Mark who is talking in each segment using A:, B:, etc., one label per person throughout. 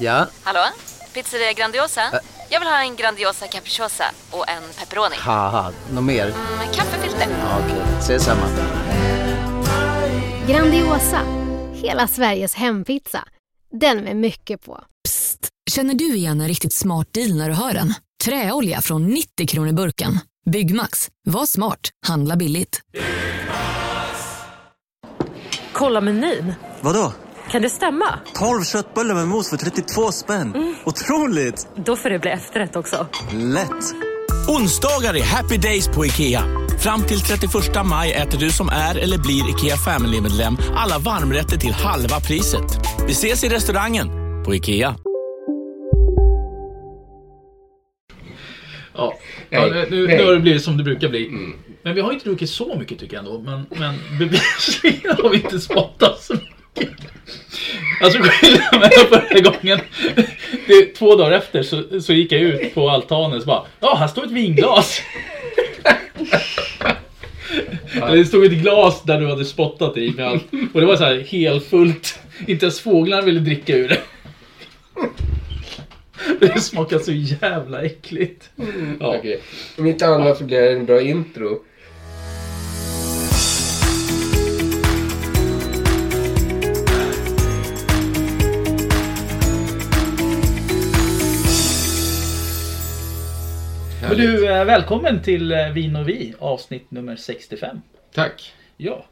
A: Ja,
B: Hallå? Pizzeria Grandiosa? Jag vill ha en Grandiosa capriciosa och en pepperoni.
A: haha, något mer?
B: Mm, kaffefilter.
A: Ja, Okej, ses samma.
C: Grandiosa, hela Sveriges hempizza. Den med mycket på.
D: Psst! Känner du igen en riktigt smart deal när du hör den? Träolja från 90 kronor burken. Byggmax. Var smart. Handla billigt.
E: Kolla menyn.
F: Vadå?
E: Kan det stämma?
F: 12 köttbullar med mos för 32 spänn. Otroligt!
E: Då får det bli efterrätt också.
F: Lätt!
G: Onsdagar är happy days på IKEA. Fram till 31 maj äter du som är eller blir IKEA Family-medlem alla varmrätter till halva priset. Vi ses i restaurangen på IKEA.
H: Ja,
I: Nej,
H: ja nu,
I: nej.
H: nu,
I: Mm.
H: nu har det blivit som det brukar bli. Men vi har inte druckit så mycket tycker jag ändå. Men, men bevisligen har vi inte spottat så mycket. Alltså skillnaden mellan förra gången, det, två dagar efter så, så gick jag ut på altanen och bara Ja, här står ett vinglas. Eller Det stod ett glas där du hade spottat i med allt. Och det var så här helfullt. Inte ens fåglarna ville dricka ur det. Det smakar så jävla äckligt. Ja.
I: Mm, Okej. Om inte annat så blir det en bra intro.
H: Men du, eh, välkommen till eh, Vin och vi avsnitt nummer 65.
I: Tack.
H: Ja,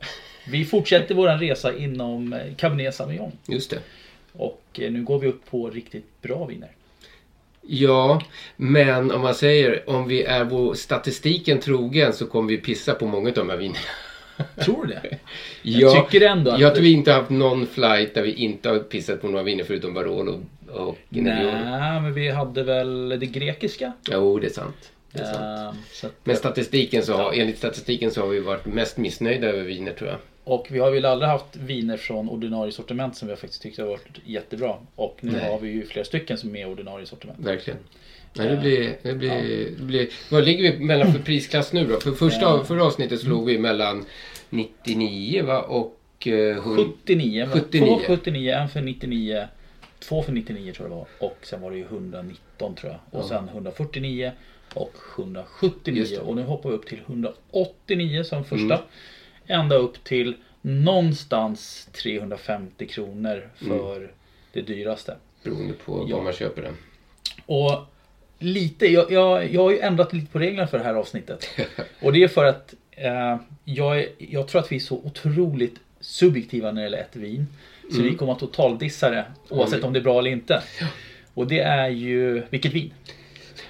H: vi fortsätter vår resa inom eh, Cabernet Sauvignon
I: Just det.
H: och eh, nu går vi upp på riktigt bra viner.
I: Ja, men om man säger om vi är vår statistiken trogen så kommer vi pissa på många av de här vinerna.
H: Tror du det?
I: Jag,
H: tycker ändå att-
I: Jag tror vi inte har haft någon flight där vi inte har pissat på några viner förutom Barolo och, och Nebbiolo.
H: Nej, men vi hade väl det grekiska.
I: Jo, det är sant. Det är sant.
H: Eh, så att,
I: Men statistiken så har, enligt statistiken så har vi varit mest missnöjda över viner tror jag.
H: och vi har väl aldrig haft viner från ordinarie sortiment som vi har faktiskt tyckt har varit jättebra. Och nu
I: Nej.
H: har vi ju flera stycken som är ordinarie sortiment. Eh,
I: Verkligen. Nej, det blir, det blir, det blir, vad ligger vi mellan för prisklass nu då? För
H: Eh.
I: första, förra avsnittet så låg vi mellan 99 va? och eh, 100.
H: 79, men
I: 79.
H: två 79, en för 99, två för 99 tror jag det var och sen var det ju 119 tror jag och sen 149 och 179
I: Just det. Mm.
H: och nu hoppar vi upp till 189 som första. Ända upp till någonstans 350 kronor för det dyraste.
I: Beroende på
H: Ja.
I: var man köper den.
H: Och lite, jag, jag, jag har ju ändrat lite på reglerna för det här avsnittet. Och det är för att eh, jag, är- jag tror att vi är så otroligt subjektiva när det gäller ett vin. Så
I: Mm.
H: vi kommer att totaldissa det oavsett om det är bra eller inte. Och det är ju, vilket vin?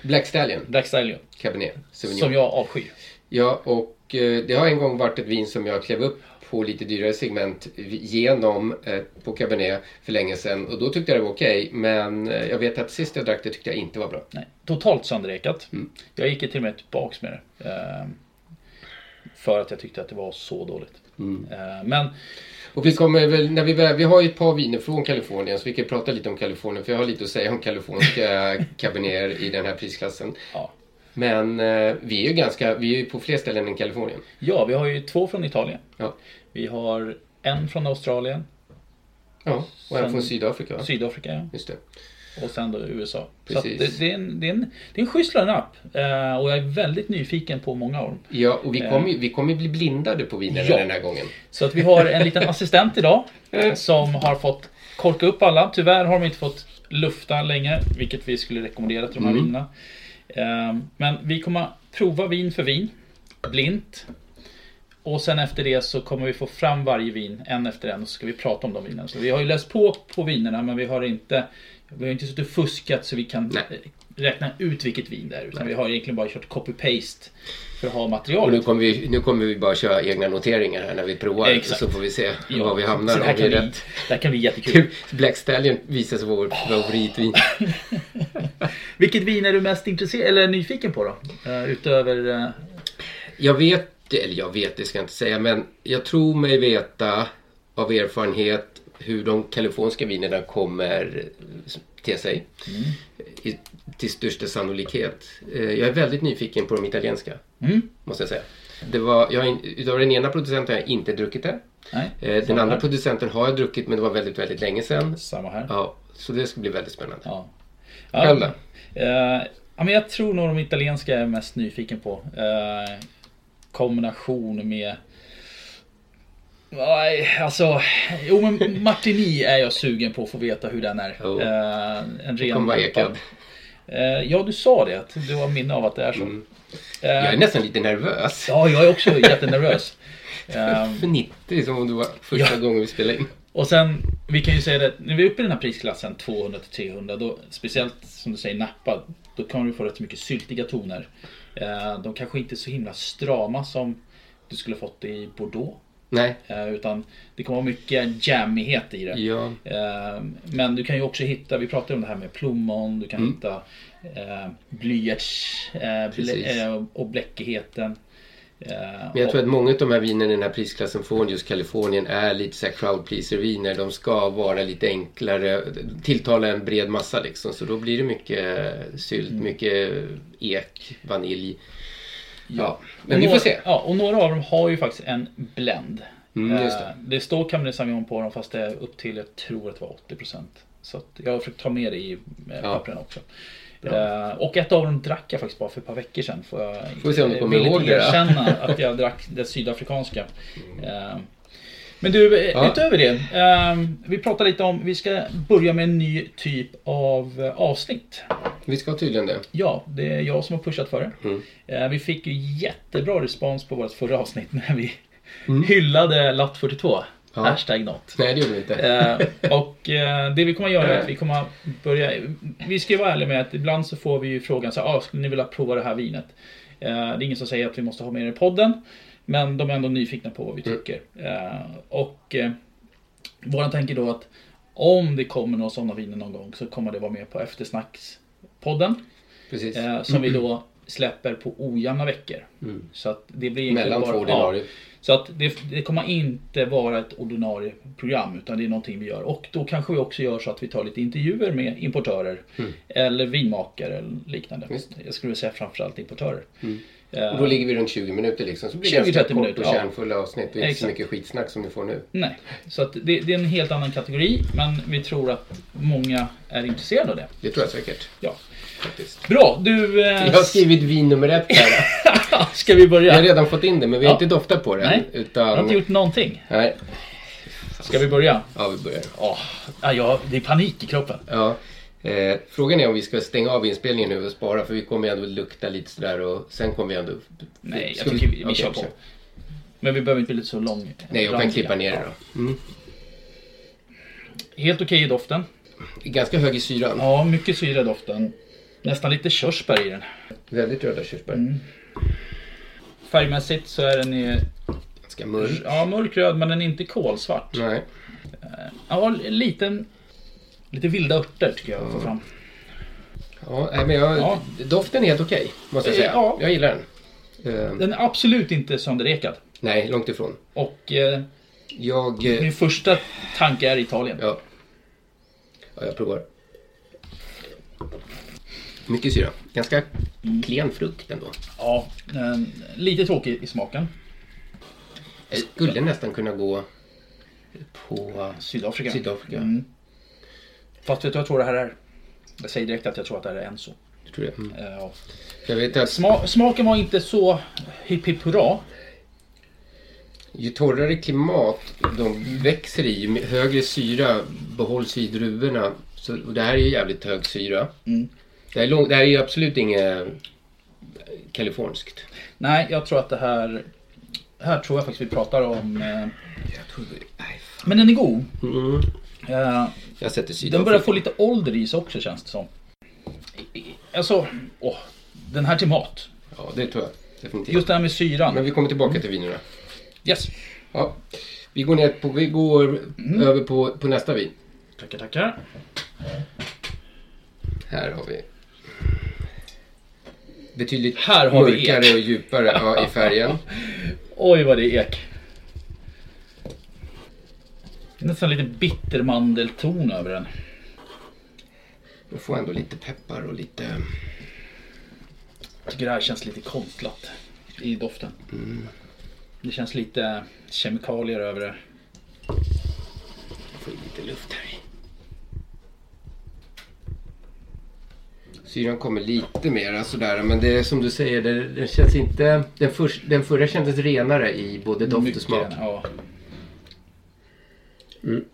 I: Black Stallion,
H: Black Stallion.
I: Cabernet Sauvignon.
H: Som jag avskyr.
I: Ja, och eh, det har en gång varit ett vin som jag klev upp på lite dyrare segment genom eh, på Cabernet för länge sedan och då tyckte jag det var okej men eh, jag vet att sist jag drack det tyckte jag inte var bra. Mm.
H: Nej, totalt sönderrekat. Jag gick ju till och med tillbaks med det. Eh, för att jag tyckte att det var så dåligt. Eh, men
I: Mm. Och vi kommer väl, när vi, väl- vi har ju ett par viner från Kalifornien så vi kan prata lite om Kalifornien för jag har lite att säga om kaliforniska Cabernet i den här prisklassen.
H: ja.
I: Men eh, vi är ju ganska, vi är ju på fler ställen än Kalifornien.
H: ja, vi har ju två från Italien.
I: Ja,
H: Vi har en från Australien.
I: ja. och en
H: Sen-
I: från Sydafrika. va?
H: Sydafrika ja.
I: Just det.
H: och sen då USA.
I: Precis.
H: Så att det, det, är en, det, är en, det är en schysst line-up eh, och jag är väldigt nyfiken på många av dem.
I: Ja, och vi kommer ju vi kommer ju bli blindade på vinerna
H: Eh. Ja.
I: den här gången.
H: Så att vi har en liten assistent idag som har fått korka upp alla. Tyvärr har de inte fått lufta länge, vilket vi skulle rekommendera till de
I: Mm.
H: här vinerna. Eh, men vi kommer prova vin för vin, blint. Och sen efter det så kommer vi få fram varje vin en efter en och så ska vi prata om de vinerna. Så vi har ju läst på på vinerna men vi har inte Vi har inte suttit och fuskat så vi kan
I: Nej.
H: eh, räkna ut vilket vin det är. Utan vi har egentligen bara kört copy-paste för att ha
I: Och
H: materialet.
I: nu kommer, vi, nu kommer vi bara köra egna noteringar här när vi provar
H: Exakt.
I: så får vi se
H: Ja,
I: var vi hamnar.
H: så det här
I: om vi är
H: kan bli,
I: rätt.
H: det här kan bli jättekul.
I: Black Stallion visar sig vara vårt favoritvin.
H: Vilket vin är du mest intresserad eller nyfiken på då? Eh, utöver... eh,
I: Jag vet, eller jag vet det ska jag inte säga, men jag tror mig veta av erfarenhet hur de kaliforniska vinerna kommer till sig.
H: Mm.
I: I, till största sannolikhet. Eh, Jag är väldigt nyfiken på de italienska.
H: Mm.
I: Måste jag säga. Det var, jag, har in- utav den ena producenten har jag inte druckit det.
H: nej,
I: Eh, Den
H: samma
I: andra
H: här.
I: producenten har jag druckit men det var väldigt, väldigt länge sedan.
H: Samma här.
I: Ja,
H: Så det ska bli väldigt spännande.
I: Ja.
H: Själv då?
I: Eh, ja, men jag tror nog de italienska är mest nyfiken på. Eh, kombination med... Nej, alltså... Jo, men Martini är jag sugen på att få veta hur den är.
H: Jo.
I: Eh, en
H: Kommer
I: ren...
H: vara ekad.
I: Eh, ja, du sa det. Att du har minne av att det är så.
H: Mm.
I: Eh,
H: Jag är nästan lite nervös.
I: Ja, jag är också jättenervös. Ehm,
H: För 90 som om det var första gången vi spelade in.
I: Och sen, vi kan ju säga det, när vi är uppe i den här prisklassen 200 till 300, då, speciellt som du säger Napa, då kan du få rätt så mycket syltiga toner. Eh, de kanske inte är så himla strama som du skulle fått i Bordeaux.
H: Nej.
I: Eh, utan det kommer vara mycket jammighet i det.
H: Ja.
I: Eh, men du kan ju också hitta, vi pratade om det här med plommon, du kan
H: Mm.
I: hitta eh, blyerts eh, blä,
H: Precis.
I: eh, och bläckigheten. Eh,
H: Men jag
I: och-
H: tror att många av de här vinerna i den här prisklassen från just Kalifornien är lite så här crowd pleaser-viner. De ska vara lite enklare, tilltala en bred massa liksom. Så då blir det mycket sylt, mycket ek, vanilj. Ja, men vi får
I: några,
H: se.
I: Ja, och några av dem har ju faktiskt en blend.
H: Mm, just det.
I: Eh, det står Cabernet Sauvignon på dem fast det är upp till, jag tror att det var 80%. Så att jag har försökt ta med det i eh, pappren också. Eh, och ett av dem drack jag faktiskt bara för ett par veckor sedan. Får, jag,
H: Får vi se om du
I: eh,
H: kommer
I: villigt
H: ihåg det då?
I: erkänna att jag drack det sydafrikanska. Eh, men du, eh,
H: Mm. Ja.
I: utöver det. Eh, vi pratar lite om, vi ska börja med en ny typ av eh, avsnitt.
H: Vi ska tydligen det.
I: Ja, det är jag som har pushat för det. Eh, Vi fick ju jättebra respons på vårt förra avsnitt när vi hyllade Latt42.
H: Ja.
I: Hashtag not.
H: Nej, det gjorde vi inte.
I: Eh, och eh, det vi kommer att göra är att vi kommer att börja... Vi ska ju vara ärliga med att ibland så får vi ju frågan så här, ah, skulle ni vilja prova det här vinet? Eh, det är ingen som säger att vi måste ha med det i podden. Men de är ändå nyfikna på vad vi tycker. Eh, och eh, våran tanke då att om det kommer några sådana viner någon gång så kommer det vara med på eftersnackspodden.
H: Precis.
I: Eh, som vi då släpper på ojämna veckor. Så att det blir egentligen
H: Mm. Mellan två
I: bara-
H: ordinarie.
I: Ja, så att det, det kommer inte vara ett ordinarie program utan det är någonting vi gör. Och då kanske vi också gör så att vi tar lite intervjuer med importörer eller vinmakare eller liknande.
H: Mm. Just. Mm.
I: Jag skulle säga framförallt importörer.
H: Och då ligger vi runt 20 minuter liksom. Så blir det
I: 20-30
H: ganska kort
I: minuter,
H: och
I: ja.
H: kärnfulla avsnitt. Det är inte så
I: Exakt.
H: mycket skitsnack som ni får nu.
I: Nej, så att det, det är en helt annan kategori men vi tror att många är intresserade av det.
H: Det tror jag säkert.
I: Ja.
H: Faktiskt.
I: Bra, du... eh,
H: Jag har skrivit vin nummer ett här.
I: ska vi
H: Jag har
I: börja?
H: redan fått in det, men vi har
I: Ja.
H: inte doftat på det
I: Nej,
H: än,
I: Jag har
H: utan...
I: inte gjort någonting.
H: Nej.
I: Ska vi börja?
H: Ja, vi börjar.
I: Oh, ja, det är panik i kroppen.
H: Ja. Eh, frågan är om vi ska stänga av inspelningen nu och spara för vi kommer ju ändå lukta lite sådär och sen kommer vi ändå...
I: Nej, jag
H: Ska
I: tycker vi, vi
H: Okej,
I: kör på. Men vi behöver inte bli så lång.
H: Nej, jag kan klippa ner det då. Mm.
I: Helt okej i doften.
H: Ganska hög i syran.
I: Ja, mycket syra i doften. Nästan lite körsbär i den.
H: Väldigt röda körsbär.
I: Mm. Färgmässigt så är den ju
H: Ganska mörk.
I: ja, mörkröd men den är inte kolsvart.
H: Nej.
I: Ja, liten, lite vilda örter tycker jag att få
H: Mm.
I: fram.
H: Ja, nej, men jag,
I: Ja.
H: Doften är helt okej, måste jag
I: Eh,
H: säga.
I: ja.
H: Jag gillar den. Eh,
I: Den är absolut inte sönderekad.
H: nej, långt ifrån.
I: Och eh,
H: Jag... eh,
I: min första tanke är Italien.
H: Ja. Ja, jag provar. Mycket syra. Ganska
I: Mm.
H: klen frukt ändå.
I: Ja, eh, lite tråkig i smaken.
H: Jag skulle nästan kunna gå på...
I: Sydafrika.
H: Sydafrika.
I: Mm. Fast vet du, jag tror det här är... Jag säger direkt att jag tror att det här är Enzo.
H: Jag tror det. Mm.
I: Eh, ja.
H: Jag vet att
I: Sma- smaken var inte så hipp hipp hurra.
H: ju torrare klimat de växer i, ju mer- högre syra behålls i druvorna. Så, och det här är ju jävligt hög syra.
I: Mm.
H: Det, här är lång, det här är ju absolut inget eh, kaliforniskt.
I: Nej, jag tror att det här... Här tror jag faktiskt vi pratar om... Eh,
H: Jag, tror, nej, fan.
I: men den är god. Eh,
H: Mm. jag sätter Sydafrika.
I: den börjar få lite ålder i sig också känns det som. I- i- Alltså, åh, den här till mat.
H: Ja, det tror jag definitivt.
I: Just det här med
H: Men
I: syran.
H: vi kommer tillbaka
I: Mm.
H: till vinerna.
I: Yes.
H: Ja, vi går, ner på, vi går
I: Mm.
H: över på, på nästa vin.
I: Tackar, tackar.
H: Här har vi betydligt
I: Här har vi
H: mörkare och djupare ja, i färgen.
I: Oj, vad det är ek. Det är Nästan lite bittermandelton över den.
H: Jag får ändå lite peppar och lite...
I: Jag tycker det här känns lite konstlat i doften. Det känns lite kemikalier över det.
H: Jag får lite luft här i. Syran kommer lite mer sådär. Men det är som du säger, det, det känns inte... Den, förs- den förra kändes renare i både doft och
I: Mycket,
H: smak.
I: Ja. Mm.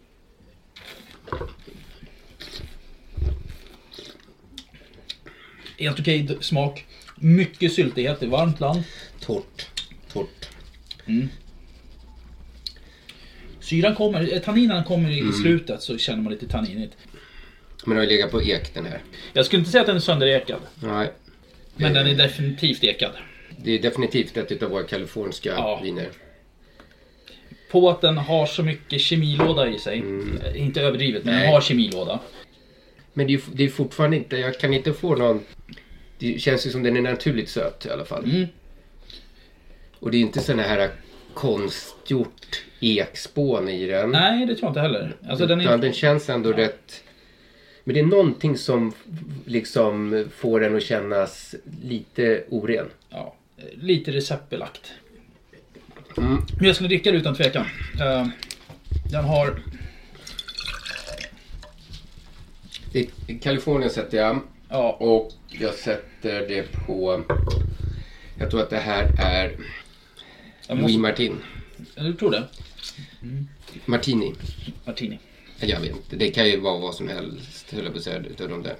I: Helt okej d- smak. Mycket syltighet i varmt land.
H: Torrt. Torrt.
I: Syran kommer, eh, tanninen kommer i slutet så känner man lite tanninigt.
H: Men den har ju legat på ek den här.
I: Jag skulle inte säga att den är sönderekad.
H: Nej.
I: Men den är definitivt ekad.
H: Det är definitivt ett utav våra kaliforniska
I: Ja.
H: viner.
I: På att den har så mycket kemilåda i sig. Eh, Inte överdrivet, men den
H: Nej.
I: har kemilåda.
H: Men det är, ju- det är fortfarande inte... Jag kan inte få någon... Det känns ju som den är naturligt söt i alla fall.
I: Mm.
H: Och det är inte sån här konstgjort ekspån i den.
I: Nej, det tror jag inte heller. Alltså, den
H: Utan
I: är...
H: den känns ändå rätt... Men det är någonting som liksom får den att kännas lite oren.
I: ja, lite receptbelagt. Men jag skulle dricka det utan tvekan. Eh, Den har...
H: I i Kalifornien sätter jag
I: Ja,
H: och jag sätter det på... Jag tror att det här är
I: jag
H: Louis
I: måste...
H: Martin.
I: Du tror det?
H: Martini.
I: Martini.
H: Eller jag vet inte. Det kan ju vara vad som helst, höll jag på att säga, utav de där.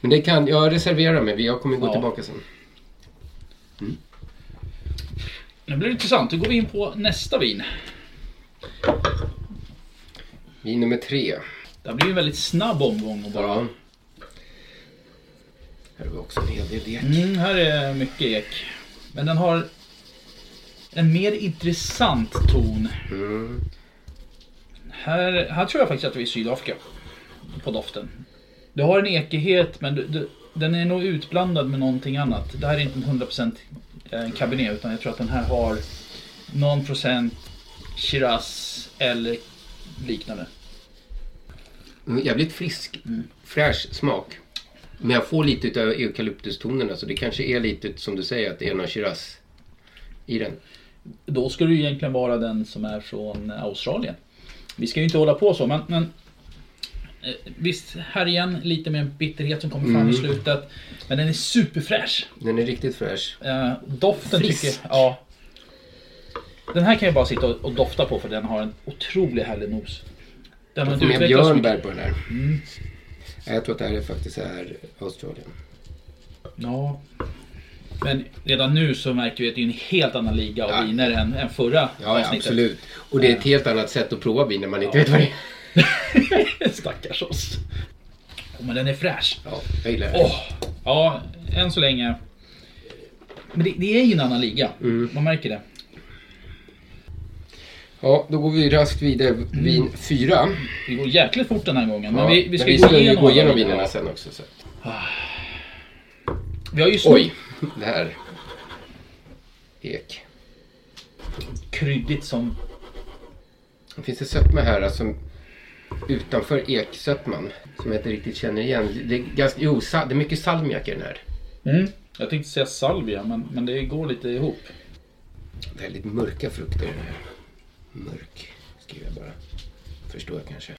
H: Men det kan... Jag reserverar mig. Jag kommer gå
I: Ja.
H: tillbaka sen.
I: Nu blir det intressant. Då går vi in på nästa vin.
H: Vin nummer tre.
I: Det här blir ju en väldigt snabb omgång och bara...
H: Ja. Här har vi också en hel del ek.
I: Mm, här är mycket ek. Men den har en mer intressant ton. Här, här tror jag faktiskt att vi är i Sydafrika. På doften. Du har en ekighet men du, du, den är nog utblandad med någonting annat. Det här är inte en 100% en cabernet utan jag tror att den här har någon procent Shiraz eller liknande.
H: Mm, Jävligt frisk, fräsch smak. Men jag får lite utav eukalyptustonerna så det kanske är lite som du säger att det är någon Shiraz i den.
I: Då skulle det ju egentligen vara den som är från Australien. Vi ska ju inte hålla på så men, men eh, Visst, här igen lite med en bitterhet som kommer fram
H: Mm.
I: i slutet. Men den är superfräsch.
H: Den är riktigt fräsch.
I: Eh, doften
H: Frisk.
I: tycker jag... Ja. Den här kan jag bara sitta och, och dofta på för den har en otroligt härlig nos. Den har
H: Jag
I: inte
H: får med
I: utvecklats så mycket.
H: björnbär på den här. Nej, Jag tror att det här är faktiskt är Australien.
I: Ja. Men redan nu så märker vi att det är en helt annan liga av
H: Ja.
I: viner än, än förra
H: Ja, absolut. Och det är ett helt annat sätt att prova vin när man inte vet vad det är.
I: Stackars oss. Oh, men den är fräsch.
H: Ja, jag gillar det.
I: Åh, ja, än så länge. Men det, det är ju en annan liga.
H: Mm.
I: Man märker det.
H: Ja, då går vi raskt vidare. Vin fyra.
I: Det går jäkligt fort den här gången.
H: Ja,
I: Men vi, vi ska
H: Mm.
I: gå,
H: men vi ska ju
I: igenom
H: gå
I: alla
H: igenom
I: vinerna.
H: vinerna sen också. Så.
I: Vi har ju snott
H: Oj, det här. Ek.
I: kryddigt som...
H: Det finns en sötma här alltså, utanför eksötman som jag inte riktigt känner igen. Det är, ganska, jo, sa, det är mycket salmiak i den här. Mm.
I: Jag tänkte säga salvia, men, men det går lite ihop.
H: Väldigt mörka frukter i den här. Mörk skriver jag bara. Förstår jag kanske.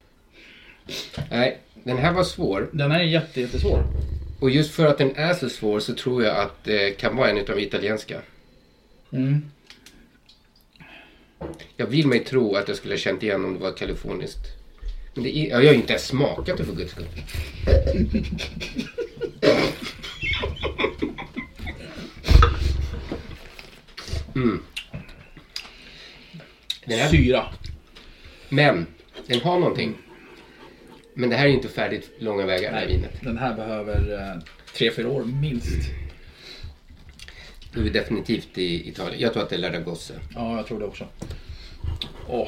H: Nej, den här var svår.
I: Den här är jätte, jättesvår.
H: Och just för att den är så svår så tror jag att det kan vara en av de italienska.
I: Mm.
H: Jag vill mig tro att jag skulle ha känt igen om det var kaliforniskt. Men det är, ja, jag har ju inte ens smakat det för guds skull. Mm. Den här-
I: Syra.
H: Men den har någonting. Men det här är ju inte färdigt långa vägar, det här vinet.
I: Den här behöver eh, tre, fyra år minst.
H: Då är vi definitivt i Italien. Jag tror att det är Lardagosse.
I: Ja, jag tror det också. Åh.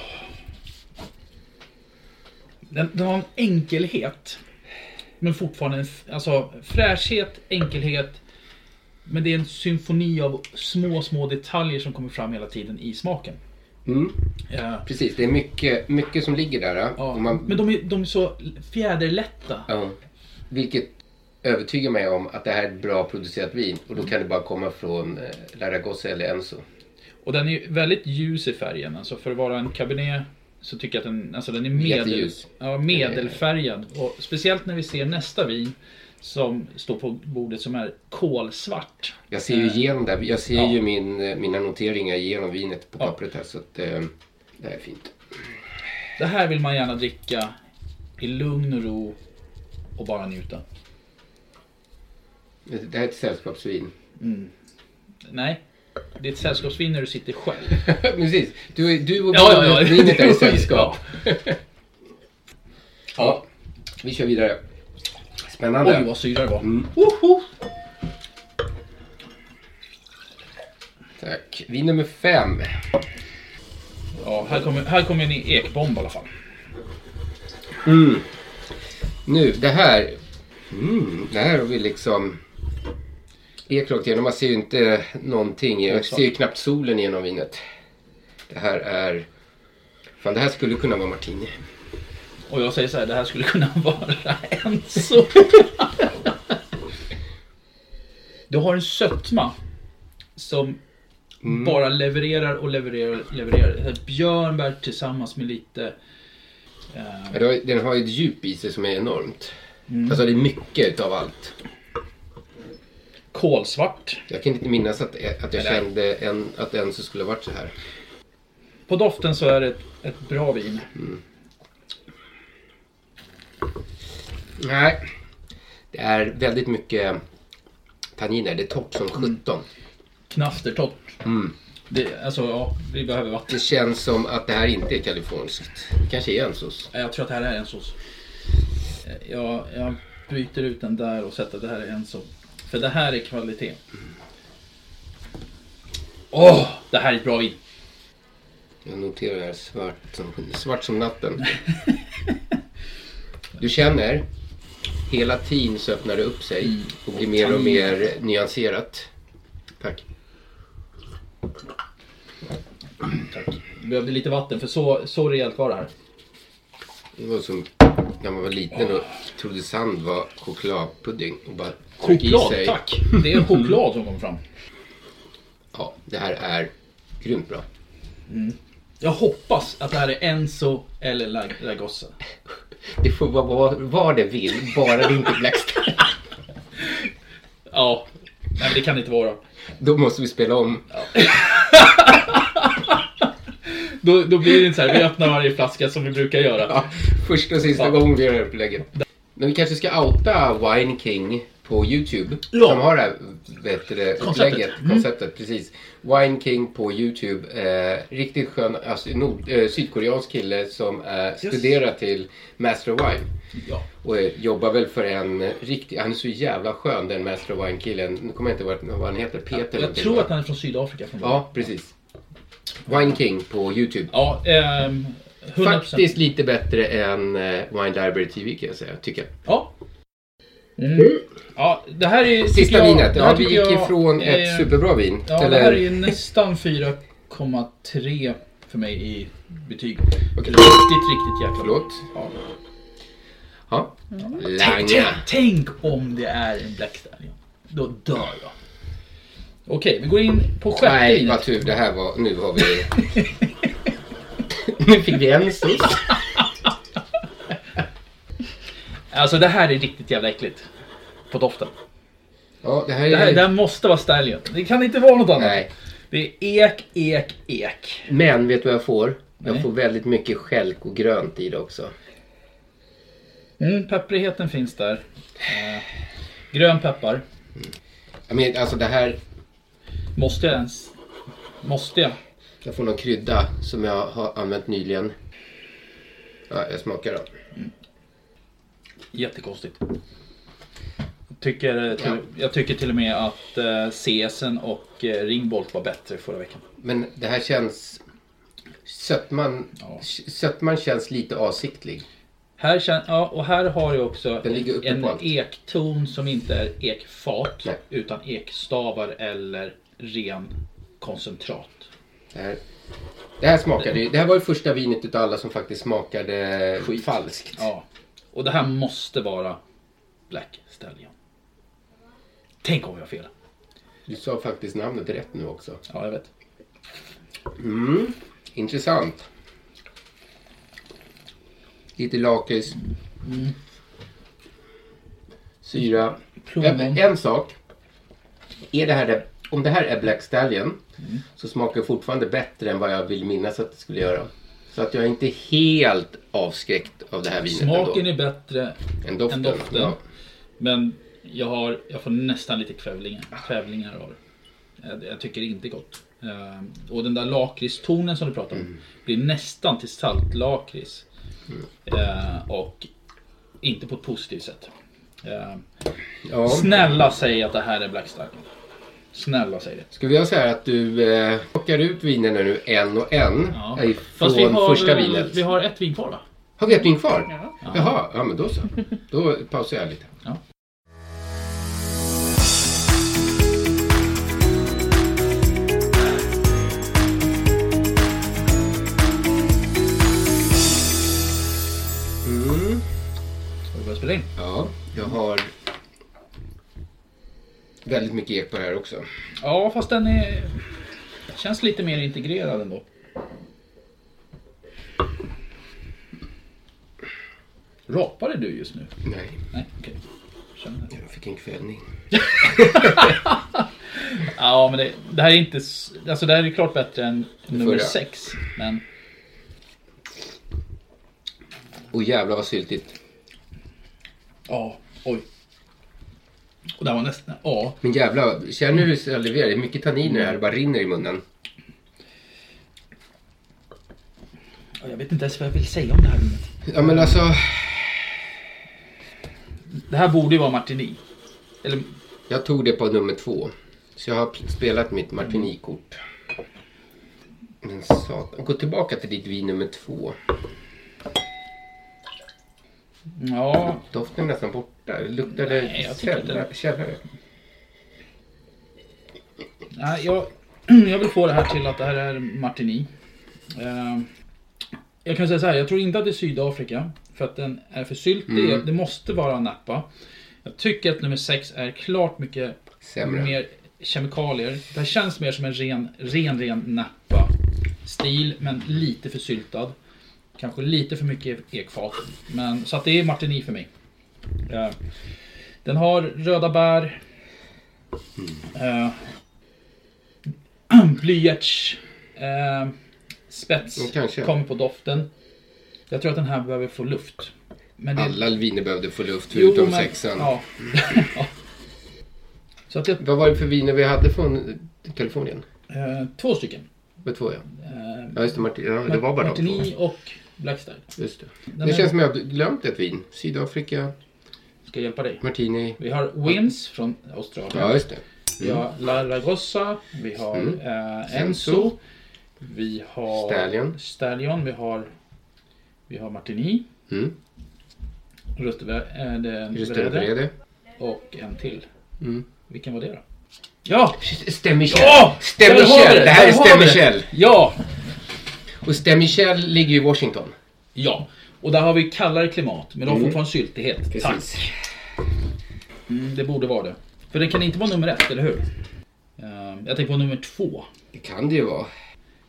I: Den, den har en enkelhet. Men fortfarande en f- alltså, fräschhet, enkelhet. Men det är en symfoni av små, små detaljer som kommer fram hela tiden i smaken. Eh,
H: Precis, det är mycket, mycket som ligger där. Ja.
I: ja.
H: Och man,
I: Men de är, de är så fjäderlätta.
H: ja, vilket övertygar mig om att det här är ett bra producerat vin. Och då kan det bara komma från eh, Lardagosse eller Enzo.
I: Och den är ju väldigt ljus i färgen. Alltså för att vara en cabernet så tycker jag att den, alltså den är medel,
H: Jätteljus.
I: ja, medelfärgad. Och speciellt när vi ser nästa vin som står på bordet som är kolsvart.
H: Jag ser
I: Eh.
H: ju igenom där. Jag ser ju min, eh, mina noteringar genom vinet på pappret här. Så att, eh, det här är fint.
I: Det här vill man gärna dricka i lugn och ro och bara njuta.
H: Det det här är ett sällskapsvin.
I: Nej, det är ett sällskapsvin när du sitter själv.
H: Precis. Du, du och
I: Ja, ja, ja.
H: vinet är i sällskap. ja, vi kör vidare. Spännande.
I: Oj, vad syra det var.
H: Tack. Vin nummer fem.
I: Ja, här kommer, här kommer en ekbomb i alla fall.
H: Nu, det här. Mm, det här har vi liksom... Ek rakt igenom. Man ser ju inte någonting. Jag ser ju knappt solen genom vinet. Det här är... Fan, det här skulle kunna vara martini.
I: Och jag säger så här, det här skulle kunna vara en så. Du har en sötma som bara levererar och levererar och levererar. Det här Björnbär tillsammans med lite...
H: Ja, det har- Den har ju ett djup i sig som är enormt. Alltså det är mycket utav allt.
I: kolsvart.
H: Jag kan inte minnas att, att jag
I: Nej.
H: kände en, att det ens skulle varit så här.
I: På doften så är det ett, ett bra vin.
H: Nej. Det är väldigt mycket tanniner. Det är torrt som sjutton.
I: Mm. Knastertorrt. Det, alltså, ja, vi behöver vatten.
H: Det känns som att det här inte är kaliforniskt. Det kanske är en sås.
I: Eh, Jag tror att det här är en sås. Eh, Jag, jag bryter ut den där och sätter att det här är en sås. För det här är kvalitet. Åh, det här är ett bra vin.
H: Jag noterar det här svart som, svart som natten. Du känner, hela tiden så öppnar det upp
I: Mm.
H: sig och blir mer och mer nyanserat. Tack.
I: Jag behövde lite vatten för så, så rejält var det här.
H: Det var som när man var liten och trodde sand var chokladpudding och bara tryckte i
I: Choklad,
H: sig.
I: tack. Det är choklad som kommer fram.
H: Ja, det här är grymt bra.
I: Jag hoppas att det här är Enzo eller Lag- Lagossa.
H: Det får vara vad, vad det vill, bara det inte är Blackstar.
I: Ja, nej men det kan det inte vara.
H: Då måste vi spela om.
I: Då, då blir det inte så här, vi öppnar varje flaska som vi brukar göra.
H: Ja, första och sista gången vi gör det här upplägget. Men vi kanske ska outa Wine King på YouTube.
I: Ja.
H: Som har det här vet du, det, upplägget,
I: Konceptet.
H: konceptet. Mm. Precis. Wine King på YouTube. Eh, riktigt skön alltså, nord, eh, sydkoreansk kille som eh, studerar till Master of Wine.
I: Ja.
H: Och eh, jobbar väl för en riktig... Han är så jävla skön den Master of Wine-killen. Nu kommer jag inte ihåg vad, vad han heter. Peter
I: Jag
H: någonting,
I: tror
H: va?
I: att han är från Sydafrika från början.
H: Ja, precis. Wine King på YouTube.
I: Ja, ehm, 100%.
H: Faktiskt lite bättre än eh, Wine Library TV kan jag säga, tycker jag.
I: Ja. Mm. ja, det här är... tycker
H: Mm. Sista
I: jag-
H: vinet.
I: det här
H: Ja, vi
I: tycker
H: gick
I: jag
H: ifrån
I: är-
H: ett superbra vin.
I: Ja, det
H: eller,
I: här är ju nästan 4,3 för mig i betyg.
H: Okej.
I: Riktigt, riktigt jäkla bra.
H: Förlåt.
I: Ja.
H: Ja.
I: Mm. Tänk,
H: Lange.
I: tänk, tänk om det är en Black Stallion. Då dör jag. Okej, vi går in på sjätte
H: Nej, vad
I: vinet.
H: tur. Det här var... Nu har vi... nu fick vi en sås.
I: Alltså det här är riktigt jävla äckligt. På doften.
H: Ja, det här är...
I: Det här, det här måste vara Stallion. Det kan inte vara något annat.
H: Nej.
I: Det är ek, ek, ek.
H: Men vet du vad jag får? Jag
I: Nej.
H: får väldigt mycket skälk och grönt i det också.
I: Mm, pepprigheten finns där. Eh, grön peppar.
H: Jag menar, alltså det här...
I: Måste jag ens? Måste jag?
H: Jag får någon krydda som jag har använt nyligen. Ja, jag smakar då.
I: Jättekonstigt. Jag tycker, eh, till, jag tycker till och med att eh, CSN och eh, Ringbolt var bättre förra veckan.
H: Men det här känns... Sötman,
I: Ja.
H: sötman känns lite avsiktlig.
I: Här, kän- ja, och här har jag också
H: Den ligger uppe
I: en
H: på allt.
I: ekton som inte är ekfat
H: Nej.
I: utan ekstavar eller ren koncentrat.
H: Det här, det här smakade ju... Det här var det första vinet utav alla som faktiskt smakade falskt.
I: Ja. Och det här måste vara Black Stallion. Tänk om jag har fel.
H: Du sa faktiskt namnet rätt nu också.
I: Ja, jag vet.
H: Intressant.
I: Mm.
H: Lite lakrits. syra.
I: Plommon.
H: En, en sak. Är det här det, om det här är Black Stallion
I: Mm.
H: så smakar det fortfarande bättre än vad jag vill minnas att det skulle göra. Så att jag är inte helt avskräckt av det här vinet
I: Smaken
H: ändå.
I: är bättre
H: än doften.
I: än doften.
H: Ja.
I: Men jag, har, jag får nästan lite kvävlingar, kvävlingar av det. Eh, det- Jag tycker det inte är gott. Eh, Och den där lakritstonen som du pratar om
H: Mm.
I: blir nästan till saltlakrits.
H: Mm.
I: Eh, Och inte på ett positivt sätt. Eh,
H: Ja.
I: Snälla säg att det här är Black Stallion. Snälla säg det.
H: Ska vi göra så här att du eh, plockar ut vinerna nu en och en
I: Ja.
H: eh, från första vinet?
I: vi har ett vin kvar va?
H: Har vi ett vin kvar? Ja. Jaha, ja men då så. Då pausar jag lite.
I: Ja.
H: Mm.
I: Ska vi börja spela in?
H: Ja, jag har väldigt mycket ek på det här också.
I: Ja, fast den är... Känns lite mer integrerad ändå. Rapade du just nu?
H: Nej,
I: Nej, okej. Känner.
H: jag fick en kvällning.
I: Ja, men det, det här är inte... s- Alltså det här är klart bättre än nummer
H: förra.
I: sex. Men
H: Och jävlar vad syltigt.
I: ja, oj. Och det här var nästan... Ja,
H: Men jävlar, känner du hur salivär? Det är mycket tanniner här, det bara rinner i munnen.
I: jag vet inte ens vad jag vill säga om det här vinet.
H: Ja men alltså,
I: Det här borde ju vara Martini. Eller
H: jag tog det på nummer två. Så jag har pl- spelat mitt martinikort. Men satan, gå tillbaka till ditt vin nummer två.
I: ja,
H: Doften är nästan borta, det luktade
I: Nej, jag tycker
H: källare. källare.
I: Nej, jag, jag vill få det här till att det här är Martini. Eh, jag kan säga så här, jag tror inte att det är Sydafrika. För att den är för syltig, det måste vara Napa. Jag tycker att nummer 6 är klart mycket
H: Sämre.
I: mer kemikalier. Det här känns mer som en ren, ren, ren Napa-stil. Men lite för syltad. Kanske lite för mycket ekfat. Men, så att det är Martini för mig. Eh, den har röda bär. Eh, blyerts eh, spets
H: Kanske.
I: kommer på doften. Jag tror att den här behöver få luft. Men det-
H: Alla viner behövde få luft
I: Jo,
H: förutom
I: men-
H: sexan.
I: Ja. Ja. Så att jag,
H: Vad var det för viner vi hade från Kalifornien?
I: eh, två stycken.
H: Med två ja.
I: Eh,
H: Ja just det, Martin, ja, det var bara de
I: Martini och Blackstar.
H: två. Just det.
I: Den
H: det
I: är-
H: känns som jag har glömt ett vin. Sydafrika,
I: Ska jag hjälpa dig?
H: Martini.
I: Vi har Wins från
H: Ja
I: Australien.
H: just det.
I: Vi har La Ragossa. Vi har
H: Mm.
I: eh,
H: Senso.
I: Enzo. Vi har
H: Stallion.
I: Stallion. Vi har, vi har Martini.
H: Mm. Just det,
I: Rustevrede.
H: Brede.
I: Och en till.
H: Mm.
I: Vilken var det då? Ja!
H: Stämmichel!
I: Ja! Där har vi
H: Stämmichel! Det här är
I: Där har vi det!
H: Stämmichel!
I: Ja!
H: Och Stämmichel ligger ju i Washington.
I: Ja, och där har vi kallare klimat, men de har
H: Mm.
I: fortfarande syltighet. Tack. Mm, det borde vara det. För den kan inte vara nummer ett, eller hur? Eh, jag tänker på nummer två.
H: Det kan det ju vara.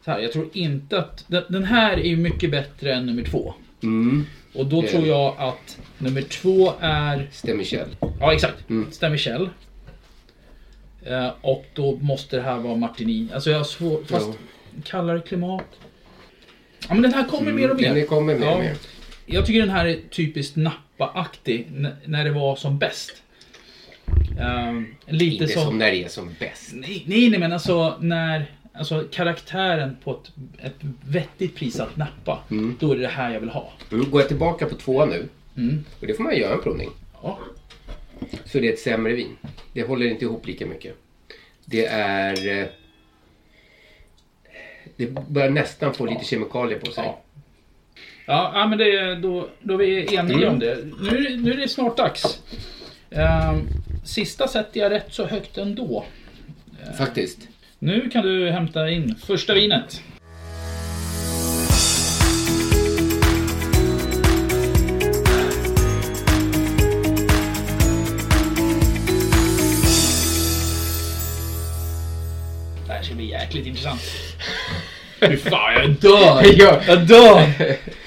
I: Så här, jag tror inte att... Den, den här är ju mycket bättre än nummer två.
H: Mm.
I: Och då
H: Det är
I: tror
H: det.
I: jag att nummer två är...
H: Stämmichel.
I: Ja, exakt.
H: Mm.
I: Stämmer Kjell. Eh, och då måste det här vara Martini. Alltså jag har svår... Fast kallare klimat. Ja, men den här kommer mer och mer.
H: Den Mm, kommer mer och
I: Ja.
H: mer.
I: Jag tycker den här är typiskt Nappa-aktig, n- när det var som bäst. Ehm, lite
H: Inte
I: som...
H: som när det är som bäst.
I: Nej, nej, nej, men alltså när... Alltså karaktären på ett, ett vettigt prissatt Nappa. Då är det det här jag vill ha.
H: Mm, Går jag tillbaka på tvåan nu,
I: Mm.
H: och det får man göra en provning,
I: Ja.
H: så det är ett sämre vin. Det håller inte ihop lika mycket. Det är... eh, Det börjar nästan få lite kemikalier på sig.
I: Ja. Ja, ja men det, är- då, då är vi eniga
H: Mm.
I: om det. Nu, är det- nu är det snart dags. Ehm, sista sätter jag rätt så högt ändå.
H: Faktiskt.
I: Nu kan du hämta in första vinet. Det här ska bli jäkligt intressant. Fy fan, jag dör!
H: Ja.
I: Jag dör!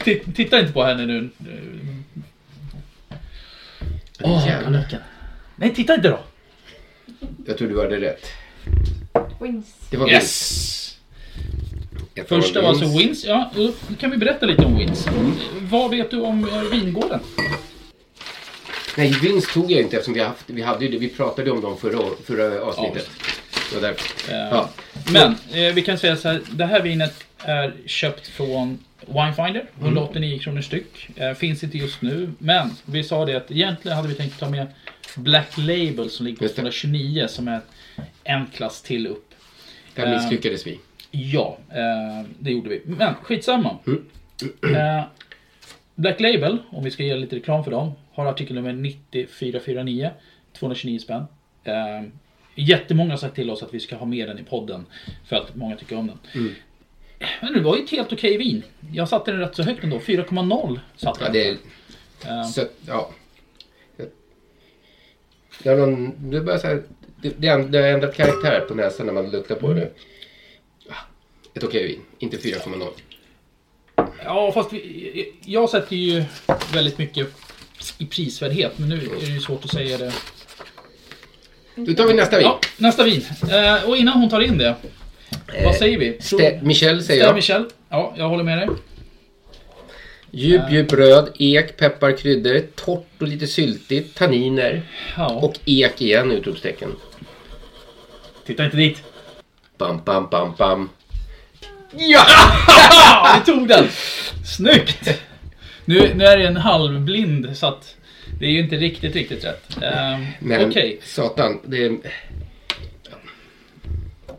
I: Ti- Titta inte på henne nu.
H: Jävlar.
I: paniken. Nej, titta inte då!
H: Jag tror du hade rätt. Det var Wins.
I: Yes!
H: Jag tar
I: Första var
H: Wins.
I: alltså Wins. Ja, och nu kan vi berätta lite om Wins. Vad vet du om eh, vingården?
H: Nej, Wins tog jag inte eftersom vi, haft, vi, hade ju, det- vi pratade om dem förra, år- förra avsnittet. Ja, där. ja.
I: Men eh, vi kan säga så här. Det här vinet är köpt från Winefinder.
H: Mm.
I: 189 kronor styck. Eh, finns inte just nu. Men vi sa det att egentligen hade vi tänkt ta med Black Label som ligger på
H: Just det.
I: 229 som är en klass till upp. Eh.
H: Där misslyckades vi.
I: Ja, eh, det gjorde vi. Men skitsamma.
H: Mm.
I: Eh, Black Label, om vi ska ge lite reklam för dem, har artikelnummer 9449. 229 spänn. Eh, jättemånga har sagt till oss att vi ska ha med den i podden. För att många tycker om den.
H: Mm.
I: Men det var ju ett helt okej vin. Jag satte den rätt så högt ändå. 4,0 satte
H: Ja,
I: den.
H: det är... Så, att, ja. Ja, de, det, börjar så här, det, det, har- det har ändrat karaktär på näsan när man luktar på det. Ja, Ett okej vin, inte 4,0.
I: Ja, fast vi, jag sätter ju väldigt mycket i prisvärdhet. Men nu är det ju svårt att säga det.
H: Då tar vi nästa vin.
I: Ja, nästa vin. Eh, och innan hon tar in det. Vad säger vi?
H: Eh, Ste- Michel säger
I: Ja,
H: jag.
I: Michel. Ja, jag håller med dig.
H: Djup, djup röd, ek, peppar, kryddor, torrt och lite syltigt, tanniner
I: Ja.
H: och ek igen, utropstecken.
I: titta inte dit.
H: Bam, bam, bam, bam.
I: Ja, vi tog den! Snyggt! Nu, nu är det en halvblind så att det är ju inte riktigt, riktigt rätt. Ehm,
H: Men
I: Okej,
H: satan, det är,
I: om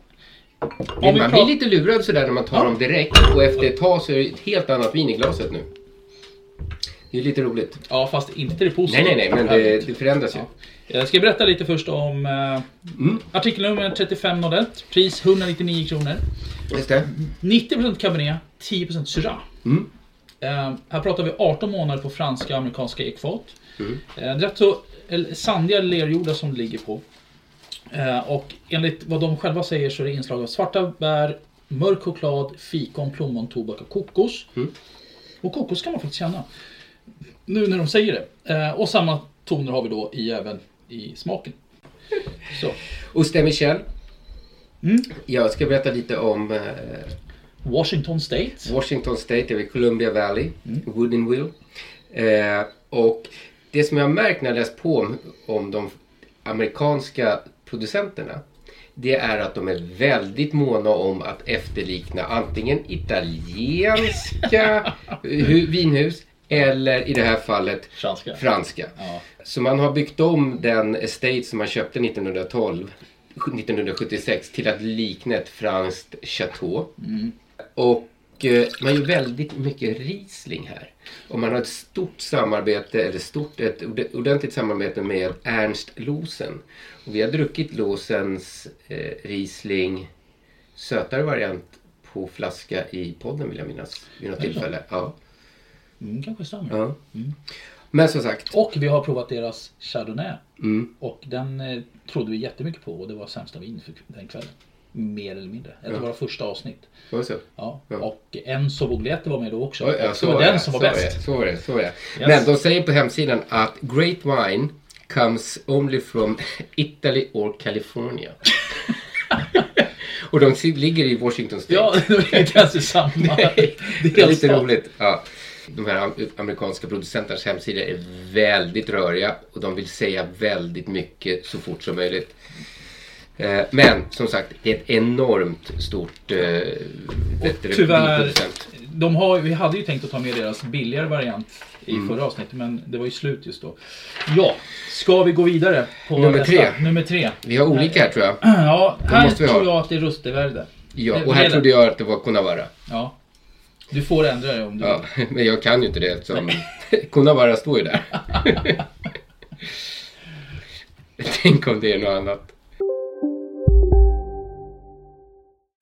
I: vi
H: man
I: pratar...
H: blir lite lurad sådär när man tar dem direkt och efter ett tag så är det ett helt annat vin i glaset nu. Det är lite roligt.
I: Ja, fast inte det positiva.
H: Nej, nej, nej, men det, det förändras ju. Mm.
I: Jag ska berätta lite först om eh, artikelnummer 3501, pris 199 kronor.
H: Just det.
I: 90% Cabernet, 10% Syrah. Eh, här pratar vi 18 månader på franska och amerikanska ekfat. Eh, rätt så eller sandiga lerjordar som det ligger på. Eh, och enligt vad de själva säger så är det inslag av svarta bär, mörk choklad, fikon, plommon, tobak och kokos. Och kokos kan man faktiskt känna. Nu när de säger det. Eh, och samma toner har vi då i, även i smaken. Så,
H: Oste Michel.
I: Mm.
H: Jag ska berätta lite om eh,
I: Washington State.
H: Washington State, över Columbia Valley,
I: Mm.
H: Woodinville. Eh, och det som jag har märkt när jag läst på om, om de amerikanska producenterna, det är att de är väldigt måna om att efterlikna antingen italienska hu- vinhus eller i det här fallet
I: Franska.
H: franska.
I: Ja.
H: Så man har byggt om den estate som man köpte 1912, 1976 till att likna ett franskt chateau. Och eh, man gör väldigt mycket Riesling här. Och man har ett stort samarbete, eller stort, ett ord- ordentligt samarbete med Ernst Losen. Och vi har druckit Losens eh, Riesling, sötare variant, på flaska i podden vill jag minnas. Vid något tillfälle. Ja.
I: Mm, kanske stämmer.
H: ja. Men som sagt,
I: Och vi har provat deras Chardonnay.
H: Mm.
I: Och den eh, trodde vi jättemycket på och det var sämsta vin för den kvällen. Mer eller mindre. Ett av våra första avsnitt.
H: var det så?
I: Ja.
H: Ja.
I: Och Enzo Boglietti var med då också.
H: Ja, ja,
I: Och det var den som var
H: så
I: bäst.
H: Är, så var det. Så var det.
I: Yes.
H: Men de säger på hemsidan att Great Wine comes only from Italy or California. Och de si- ligger i Washington State.
I: Ja, det var inte ens i samma
H: det är lite
I: delstat.
H: roligt. Ja. De här am- amerikanska producenternas hemsidor är väldigt röriga och de vill säga väldigt mycket så fort som möjligt. Eh, Men som sagt, det är ett enormt stort... eh, bättre
I: Tyvärr,
H: vinproducent.
I: de har, vi hade ju tänkt att ta med deras billigare variant i
H: Mm.
I: förra avsnittet men det var ju slut just då. Ja, ska vi gå vidare på
H: Nummer
I: nästa?
H: tre.
I: Nummer tre.
H: Vi har olika här tror jag.
I: Ja, här
H: måste vi ha.
I: tror jag att det är Rustervärde.
H: Ja,
I: Det-
H: och här trodde jag att det var Kunavara.
I: Ja. Du får ändra dig om du
H: Ja, men jag kan ju inte det eftersom Kunavara står ju där. Tänk om det är något annat.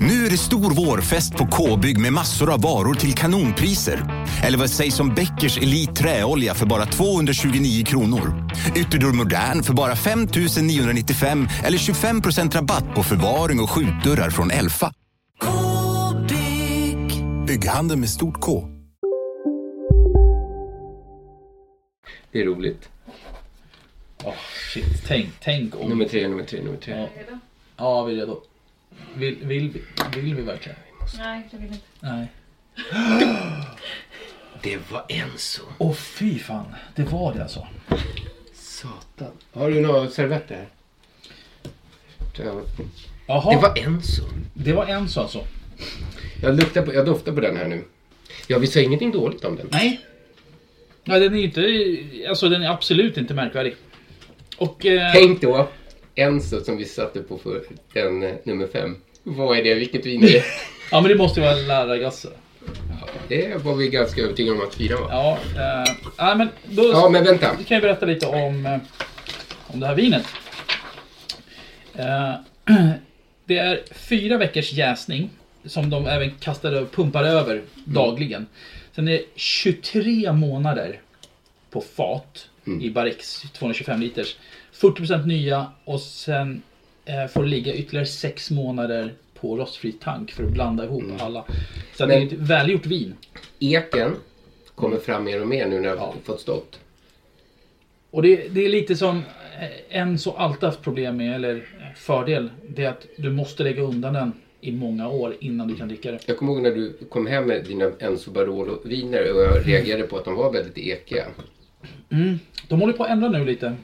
J: Nu är det stor vårfest på K-bygg med massor av varor till kanonpriser. Eller vad sägs om Bäckers Elite Träolja för bara 229 kronor? Ytterdörr Modern för bara 5 995 eller 25 rabatt på förvaring och skjutdörrar från Elfa. K-bygg. Bygghandeln med stort K.
H: Det är roligt.
I: Oh, shit, tänk, tänk om...
H: Nummer tre, nummer tre, nummer tre.
I: Ja, ja vi är redo. Vill, vill, vi- vill vi verkligen?
A: Nej, jag vill inte.
I: Nej.
H: Det var Enzo.
I: Åh oh, fy fan, det var det alltså.
H: Satan. Har du några servetter här? Jag-
I: Jaha.
H: Det var Enzo.
I: Det var Enzo alltså.
H: Jag, luktar på, jag doftar på den här nu. Ja, vi säger ingenting dåligt om den.
I: Nej. Ja, den är ju inte, alltså den är absolut inte märkvärdig. Och... Eh,
H: Tänk då, Enzo som vi satte på för en, eh, nummer fem. Vad är det? Vilket vin är det?
I: ja, men det måste ju vara lärargasse.
H: Det var vi ganska övertygade om att fyra var.
I: Ja, eh, nej, men då...
H: Ja, men vänta.
I: Vi kan ju berätta lite om, eh, om det här vinet. Eh, det är fyra veckors jäsning som de även kastar över, pumpar över
H: Mm.
I: dagligen. Sen är det 23 månader på fat
H: Mm.
I: i Barrix 225 liters. 40% nya och sen eh, får det ligga ytterligare 6 månader på rostfri tank för att blanda ihop alla. Så det är
H: Mm. Men-
I: ett välgjort vin.
H: Eken kommer fram mer och mer nu när jag har fått stått.
I: Och det, det är lite som eh, en så alltid haft problem med, eller eh, fördel, det är att du måste lägga undan den i många år innan du kan dricka det.
H: Jag kommer ihåg när du kom hem med dina Enzo Barolo-viner och jag reagerade på att de var väldigt ekiga.
I: Mm. De håller på att ändra nu lite.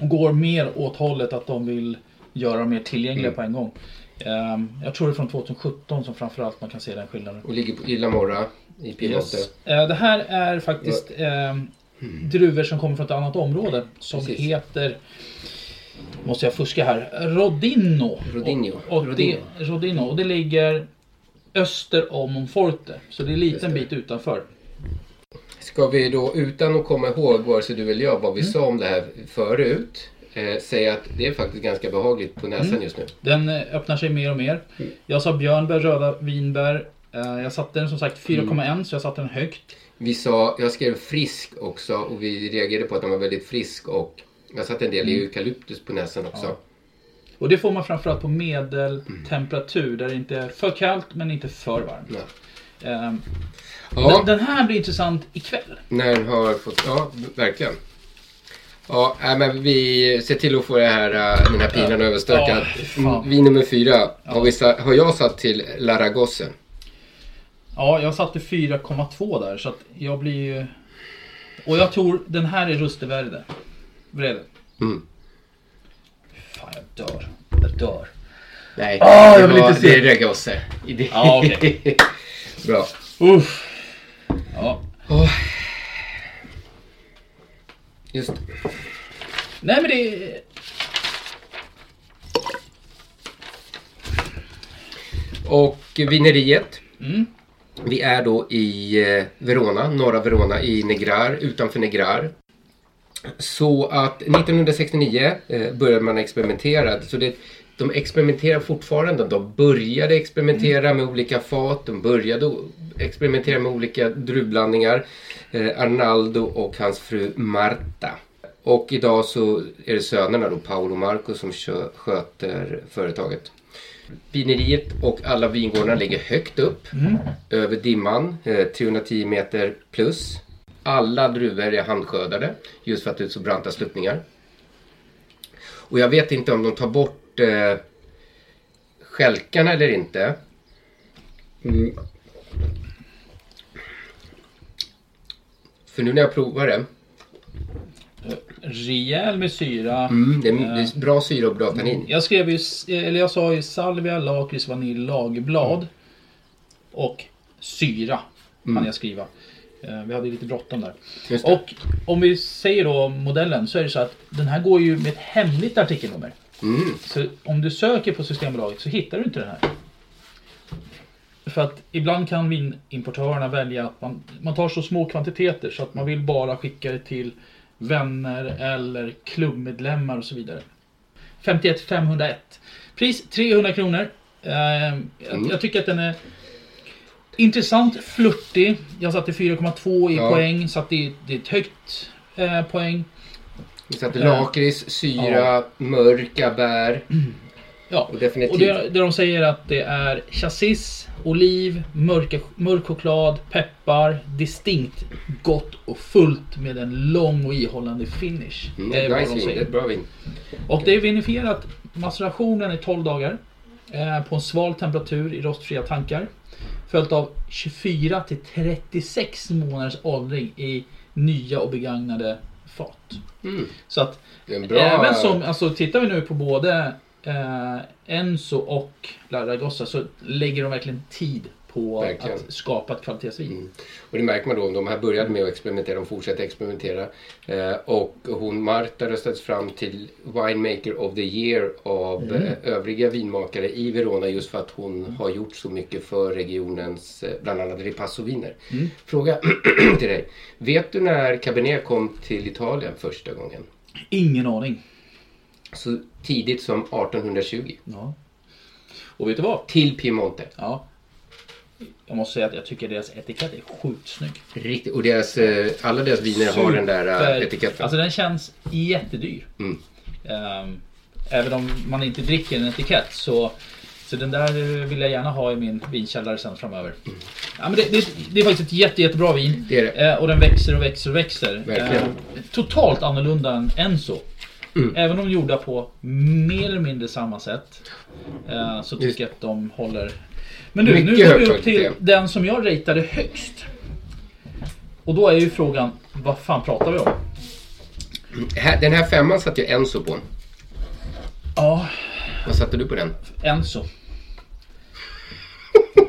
I: Och går mer åt hållet att de vill göra dem mer tillgängliga på en gång. Ehm, jag tror det är från 2017 som framförallt man kan se den skillnaden.
H: Och ligger på Illa Morra i Piemonte.
I: Eh, det här är faktiskt ehm,
H: Hmm.
I: druvor som kommer från ett annat område som heter Måste jag fuska här? Rodino.
H: Rodinho.
I: Och, och
H: Rodinho.
I: Det, Rodino. Och det ligger öster om Monforte. Så det är en liten bit utanför.
H: Ska vi då, utan att komma ihåg vare sig du eller jag vad vi
I: Mm.
H: sa om det här förut, eh, säga att det är faktiskt ganska behagligt på näsan
I: Mm.
H: just nu.
I: Den eh, öppnar sig mer och mer.
H: Hmm.
I: Jag sa björnbär, röda vinbär. Eh, Jag satte den som
H: Hmm.
I: sagt 4,1 så jag satte den högt.
H: Vi sa, jag skrev frisk också och vi reagerade på att den var väldigt frisk och jag satte en del
I: Mm.
H: eukalyptus på näsan också.
I: Ja. Och det får man framförallt på medeltemperatur där det inte är för kallt men inte för varmt. Ehm,
H: Ja.
I: den, den här blir intressant ikväll.
H: När den har fått, ja verkligen. Ja, nej, men vi ser till att få det här, eh, den här pinan
I: Ja.
H: överstökad.
I: Ja, fy fan.
H: Vin nummer fyra har, vi, sa- har jag satt till Laragosse.
I: Ja, jag satte 4,2 där så att jag blir ju... Och jag tror den här är Rustervärde. Vrede.
H: Mm.
I: Fan, jag dör. Jag dör.
H: Nej,
I: Ah,
H: det
I: jag vill
H: var-
I: inte
H: det
I: se.
H: är Ragasse. I det-
I: Ja, okej.
H: Bra.
I: Uff. Ja.
H: Just
I: Nej, men det... är-
H: Och vineriet.
I: Mm.
H: Vi är då i eh, Verona, norra Verona i Negrar, utanför Negrar. Så att 1969 eh, började man experimentera. Så det, de experimenterar fortfarande. De började experimentera med olika fat. De började o- experimentera med olika druvblandningar. Eh, Arnaldo och hans fru Marta. Och idag så är det sönerna då, Paolo och Marco, som kö- sköter företaget. Vineriet och alla vingårdarna ligger högt upp
I: Mm.
H: över dimman, eh, 310 meter plus. Alla druvor är handskördade just för att det är så branta sluttningar. Och jag vet inte om de tar bort eh, skälkarna eller inte. Mm. För nu när jag provar det
I: rejäl med syra.
H: Mm, det, är,
I: Eh,
H: det är bra syra och bra tannin.
I: Jag skrev ju, eller jag sa ju salvia, lakrits, vanilj, lagerblad. Och syra. Mm.
H: Mm.
I: jag skriva. Eh, Vi hade ju lite bråttom där.
H: Just det.
I: Och om vi säger då om modellen så är det så att den här går ju med ett hemligt artikelnummer.
H: Mm.
I: Så om du söker på Systembolaget så hittar du inte den här. För att ibland kan vinimportörerna välja att man, man tar så små kvantiteter så att man vill bara skicka det till vänner eller klubbmedlemmar och så vidare. 51 501. Pris 300 kronor. Eh, jag, jag tycker att den är intressant, flörtig. Jag satte 4,2 i
H: Ja.
I: poäng så att det, det är ett högt eh, poäng.
H: Vi satte
I: Eh,
H: lakrits, syra,
I: ja.
H: mörka bär.
I: Ja,
H: och definitivt.
I: Och det, det de säger är att det är chassis, oliv, mörka, mörk choklad, peppar, distinkt, gott och fullt med en lång och ihållande finish.
H: Mm,
I: är vad de
H: nice vin, det
I: säger.
H: är ett bra vin.
I: Och det är vinifierat. Macerationen är 12 dagar eh, på en sval temperatur i rostfria tankar. Följt av 24 till 36 månaders åldring i nya och begagnade fat.
H: Mm.
I: Så att
H: Det är en bra...
I: Även som, alltså tittar vi nu på både eh, Enzo och Laragossa så lägger de verkligen tid på
H: Verkligen. Mm.
I: att skapa ett kvalitetsvin.
H: Och det märker man då om de här började med att experimentera, de fortsätter experimentera. Eh, och hon Marta röstades fram till Winemaker of the Year av
I: Mm.
H: eh, övriga vinmakare i Verona just för att hon har gjort så mycket för regionens eh, bland annat Ripasso-viner.
I: Mm.
H: Fråga till dig. Vet du när Cabernet kom till Italien första gången?
I: Ingen aning.
H: Så tidigt som 1820.
I: Ja. Och vet du vad?
H: Till Piemonte.
I: Ja. Jag måste säga att jag tycker deras etikett är sjukt snygg.
H: Riktigt. Och deras, eh, alla deras viner har den där eh,
I: Super-
H: etiketten.
I: Alltså den känns jättedyr.
H: Mm.
I: Ehm, även om man inte dricker en etikett så, så den där eh, vill jag gärna ha i min vinkällare sen framöver. Ja, men det, det, det är faktiskt ett jätte, jättebra vin.
H: Mm. Det är det.
I: Eh, och den växer och växer och växer.
H: Verkligen.
I: Eh, totalt annorlunda än Enzo.
H: Mm.
I: Även om de gjorda på mer eller mindre samma sätt eh, så tycker
H: Just.
I: jag att de håller. Men du, nu
H: Mycket
I: går vi
H: hög
I: upp till
H: kvalitet.
I: den som jag ratade högst. Och då är ju frågan, vad fan pratar vi om?
H: Här- Den här femman satte jag Enzo på.
I: Ja,
H: Vad satte du på den?
I: Enzo.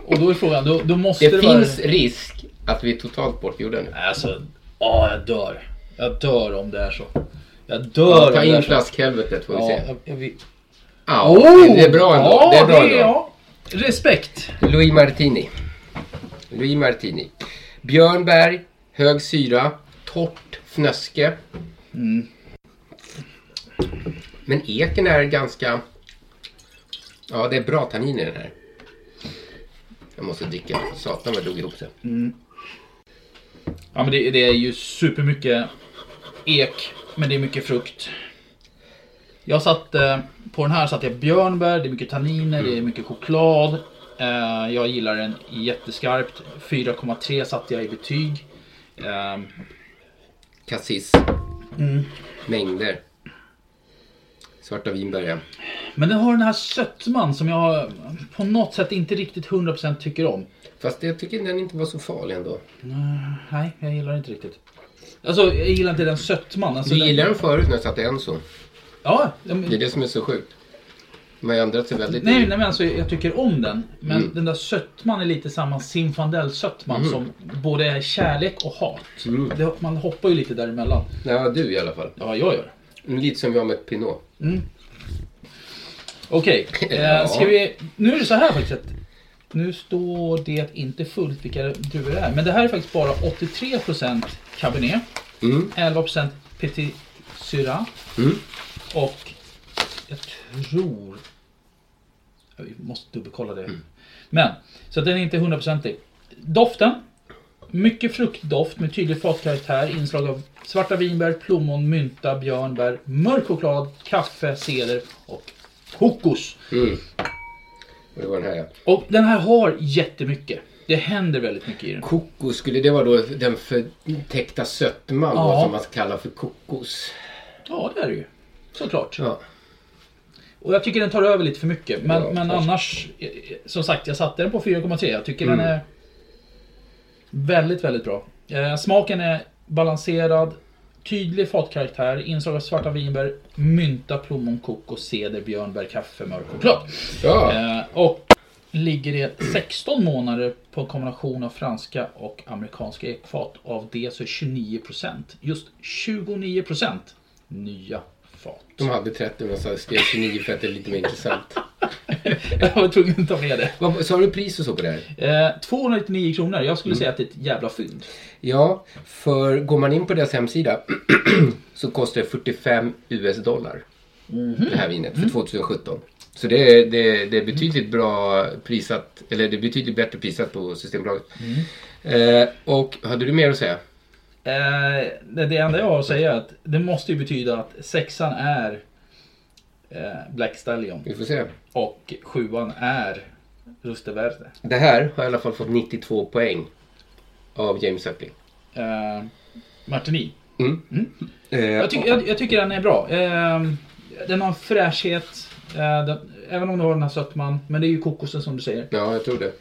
I: Och då är frågan, då, då måste
H: Det,
I: det,
H: finns
I: vara...
H: risk att vi är totalt bortgjorda nu.
I: Alltså, ja jag dör. Jag dör om det är så. Jag dör
H: Ja,
I: om
H: Ta
I: det är
H: in
I: så.
H: flaskhelvetet får vi
I: Ja,
H: se.
I: jag, jag, vill-
H: Ja,
I: Oh!
H: det är bra ändå.
I: Ja,
H: det är bra
I: det är
H: ändå.
I: jag. Respekt.
H: Louis Martini. Louis Martini. Björnberg, hög syra, torrt fnöske. Men eken är ganska... Ja, det är bra tannin i den här. Jag måste dricka. Satan vad jag drog ihop det.
I: Ja men det, det är ju supermycket ek, men det är mycket frukt. Jag satt, eh, på den här satt jag björnbär, det är mycket tanniner, det
H: Mm.
I: är mycket choklad. Eh, jag gillar den jätteskarpt. 4,3 satte jag i betyg. Ehm,
H: Cassis. Mängder. Svarta vinbär,
I: Men den har den här sötman som jag på något sätt inte riktigt 100% tycker om.
H: Fast jag tycker den inte var så farlig ändå.
I: Nej, jag gillar den inte riktigt. Alltså, jag gillar inte den sötman. Alltså,
H: Du gillade den förut när jag satte Enzo.
I: Ja, jag,
H: Det är det som är så sjukt. De har ju ändrat sig väldigt.
I: nej, nej men alltså jag tycker om den. Men den där sötman är lite samma Zinfandel-sötman som både är kärlek och hat. Det, man hoppar ju lite däremellan.
H: Ja, du i alla fall.
I: Ja, jag gör.
H: Lite som jag med Pinot.
I: Okej,
H: Ja.
I: eh, ska vi... Nu är det så här faktiskt att nu står det inte fullt vilka druvor det är. Men det här är faktiskt bara 83% Cabernet,
H: Mm.
I: 11% Petit Syrah
H: Mm.
I: och jag tror... Ja, Vi måste dubbelkolla det.
H: Mm.
I: Men, så att den är inte 100%ig. Doften. Mycket fruktdoft med tydlig fatkaraktär, inslag av svarta vinbär, plommon, mynta, björnbär, mörk choklad, kaffe, ceder och kokos.
H: Mm. Och det var den här ja.
I: Och den här har jättemycket. Det händer väldigt mycket i den.
H: Kokos, skulle det vara då den förtäckta sötman då,
I: Ja.
H: som man kallar för kokos?
I: Ja, det är det ju. Såklart.
H: Ja.
I: Och jag tycker den tar över lite för mycket. Men,
H: Ja,
I: men
H: kanske.
I: annars, eh, som sagt, jag satte den på 4,3. Jag tycker den är väldigt, väldigt bra. Eh, smaken är balanserad, Tydlig fatkaraktär, inslag av svarta vinbär, mynta, plommon, kokos, ceder, björnbär, kaffe, mörk choklad.
H: Ja.
I: Eh, och ligger det 16 månader på en kombination av franska och amerikanska ekfat. Av det så är 29%, just 29% nya fat.
H: De hade 30 men så skrev 29 för att det är lite mer intressant.
I: Jag var tvungen att ta med det.
H: Vad, sa du pris och så på det här?
I: Eh, 299 kronor. Jag skulle säga att det är ett jävla fynd.
H: Ja, för går man in på deras hemsida så kostar det 45 US-dollar. Det här vinet för 2017. Så det är, det, är- det är betydligt bra prissatt, eller det är betydligt bättre prissatt på Systembolaget. Eh, och hade du mer att säga?
I: Eh, det, det enda jag har att säga är att det måste ju betyda att sexan är eh, Black Stallion.
H: Vi får se.
I: Och sjuan är Rusteverde.
H: Det här har i alla fall fått 92 poäng av James Suckling.
I: Eh, Martini.
H: Mm. Eh,
I: Jag, tycker- jag, jag tycker den är bra. Eh, den har en fräschhet. Eh, den, även om du har den här sötman. Men det är ju kokosen som du säger.
H: Ja, jag tror det.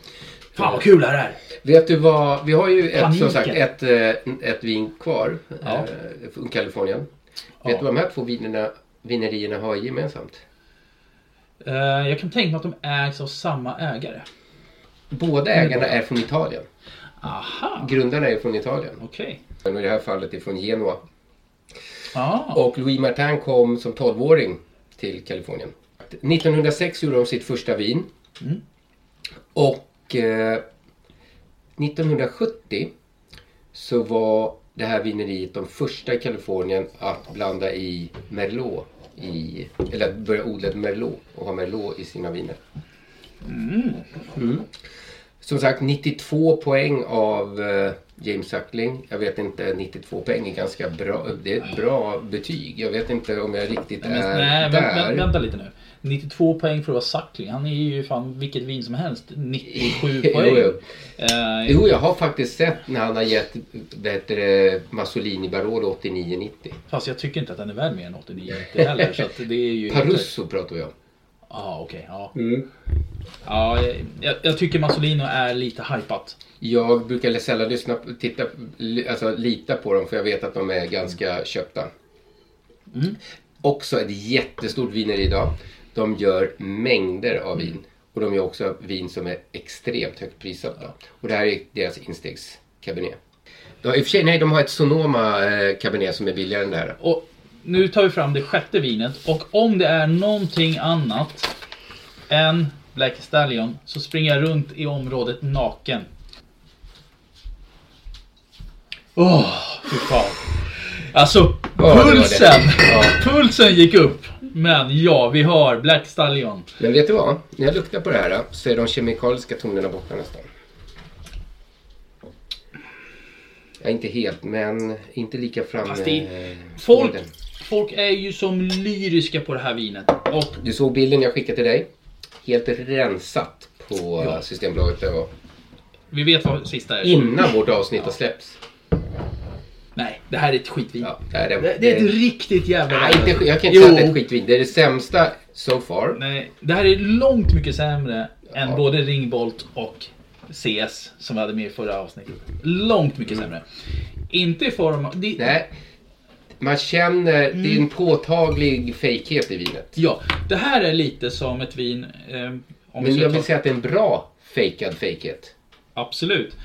I: Fan vad kul det här är!
H: Vet du vad, vi har ju ett,
I: Paniken.
H: som sagt ett, eh, ett vin kvar
I: Ja.
H: eh, från Kalifornien. Vet du vad de här två vinerna, vinerierna har gemensamt?
I: Eh, jag kan tänka mig att de ägs av samma ägare.
H: Båda ägarna är från Italien.
I: Aha,
H: Grundarna är från Italien.
I: okej.
H: Men I det här fallet är från Genua.
I: Ah.
H: Och Louis Martin kom som 12-åring till Kalifornien. 1906 gjorde de sitt första vin.
I: Mm.
H: Och eh, 1970 så var det här vineriet de första i Kalifornien att blanda i Merlot. I, eller att börja odla ett Merlot och ha Merlot i sina viner. Mm. Som sagt 92 poäng av eh, James Suckling. Jag vet inte, 92 poäng är ganska bra. Det är ett bra betyg. Jag vet inte om jag riktigt
I: Nej,
H: är
I: men, nej
H: Eh, där.
I: vänta, vänta, vänta lite nu. 92 poäng för att vara Suckling. Han är ju fan vilket vin som helst. 97
H: Jo,
I: poäng.
H: jo.
I: Eh,
H: Jo, jag har faktiskt sett när han har gett vad heter det, Masolini Barolo 89-90.
I: Fast jag tycker inte att den är värd mer än 89 inte heller. Så att det är ju
H: Parusso pratar vi om.
I: Ah, okej, ja,
H: Mm.
I: ja. Jag, jag tycker Masolino är lite hypat.
H: Jag brukar sällan lyssna, på- titta, li- alltså, lita på dem för jag vet att de är ganska köpta. Också ett jättestort vineri idag. De gör mängder av vin. Och de gör också vin som är extremt högt prissatta. Och det här är deras instegskabinet. Ja, I och för sig, nej, de har ett Sonoma eh, cabernet som är billigare än det här.
I: Och nu tar vi fram det sjätte vinet. Och om det är någonting annat än Black Stallion så springer jag runt i området naken. Åh, fy fan. Alltså,
H: Ja, det var det.
I: pulsen!
H: Ja.
I: Pulsen gick upp. Men ja, vi har Black Stallion.
H: Men vet du vad? När jag luktar på det här så är de kemikaliska tonerna borta nästan. Ja, inte helt, men inte lika framme.
I: Fast det-
H: eh,
I: Folk,
H: bilden.
I: folk är ju som lyriska på det här vinet. Och
H: Du såg bilden jag skickade till dig. Helt rensat på
I: Ja.
H: Systembolaget där jag var.
I: vi vet vad sista är.
H: Innan vårt avsnitt har släppts.
I: Nej, det här är ett skitvin.
H: Ja, det, här är,
I: Det, det är ett riktigt jävla...
H: Nej, inte, sk- jag kan inte
I: Jo.
H: säga att det är ett skitvin. Det är det sämsta so far.
I: Nej, det här är långt mycket sämre än både Ringbolt och CS som vi hade med i förra avsnittet. Långt mycket sämre. Inte i form av... Det,
H: Mm. Nej. Man känner, det är
I: Mm.
H: en påtaglig fejkhet i vinet.
I: Ja, det här är lite som ett vin... Eh, om vi
H: Men
I: ska
H: jag
I: ta-
H: vill säga att det är en bra fejkad fejkhet.
I: Absolut.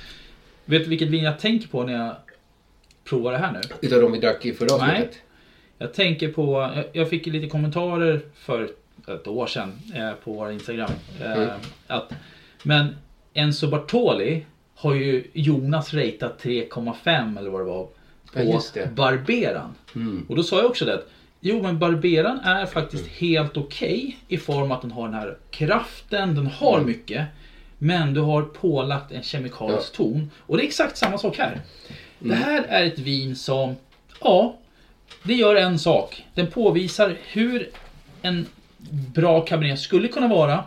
I: Vet du vilket vin jag tänker på när jag provar det här nu?
H: Utav de vi drack i förra
I: Nej.
H: avsnittet.
I: Jag tänker på, jag- jag fick ju lite kommentarer för ett år sedan eh, på vår Instagram. Eh,
H: Mm.
I: att, men Enzo Bartoli har ju Jonas ratat 3,5 eller vad det var på
H: Ja, just det. Mm.
I: Barberan. Och då sa jag också det att jo men Barberan är faktiskt helt okej i form att den har den här kraften, den har
H: Mm.
I: mycket. Men du har pålagt en kemikalisk ton. Och det är exakt samma sak
H: Mm.
I: här. Det här är ett vin som, ja, det gör en sak. Den påvisar hur en bra cabernet skulle kunna vara.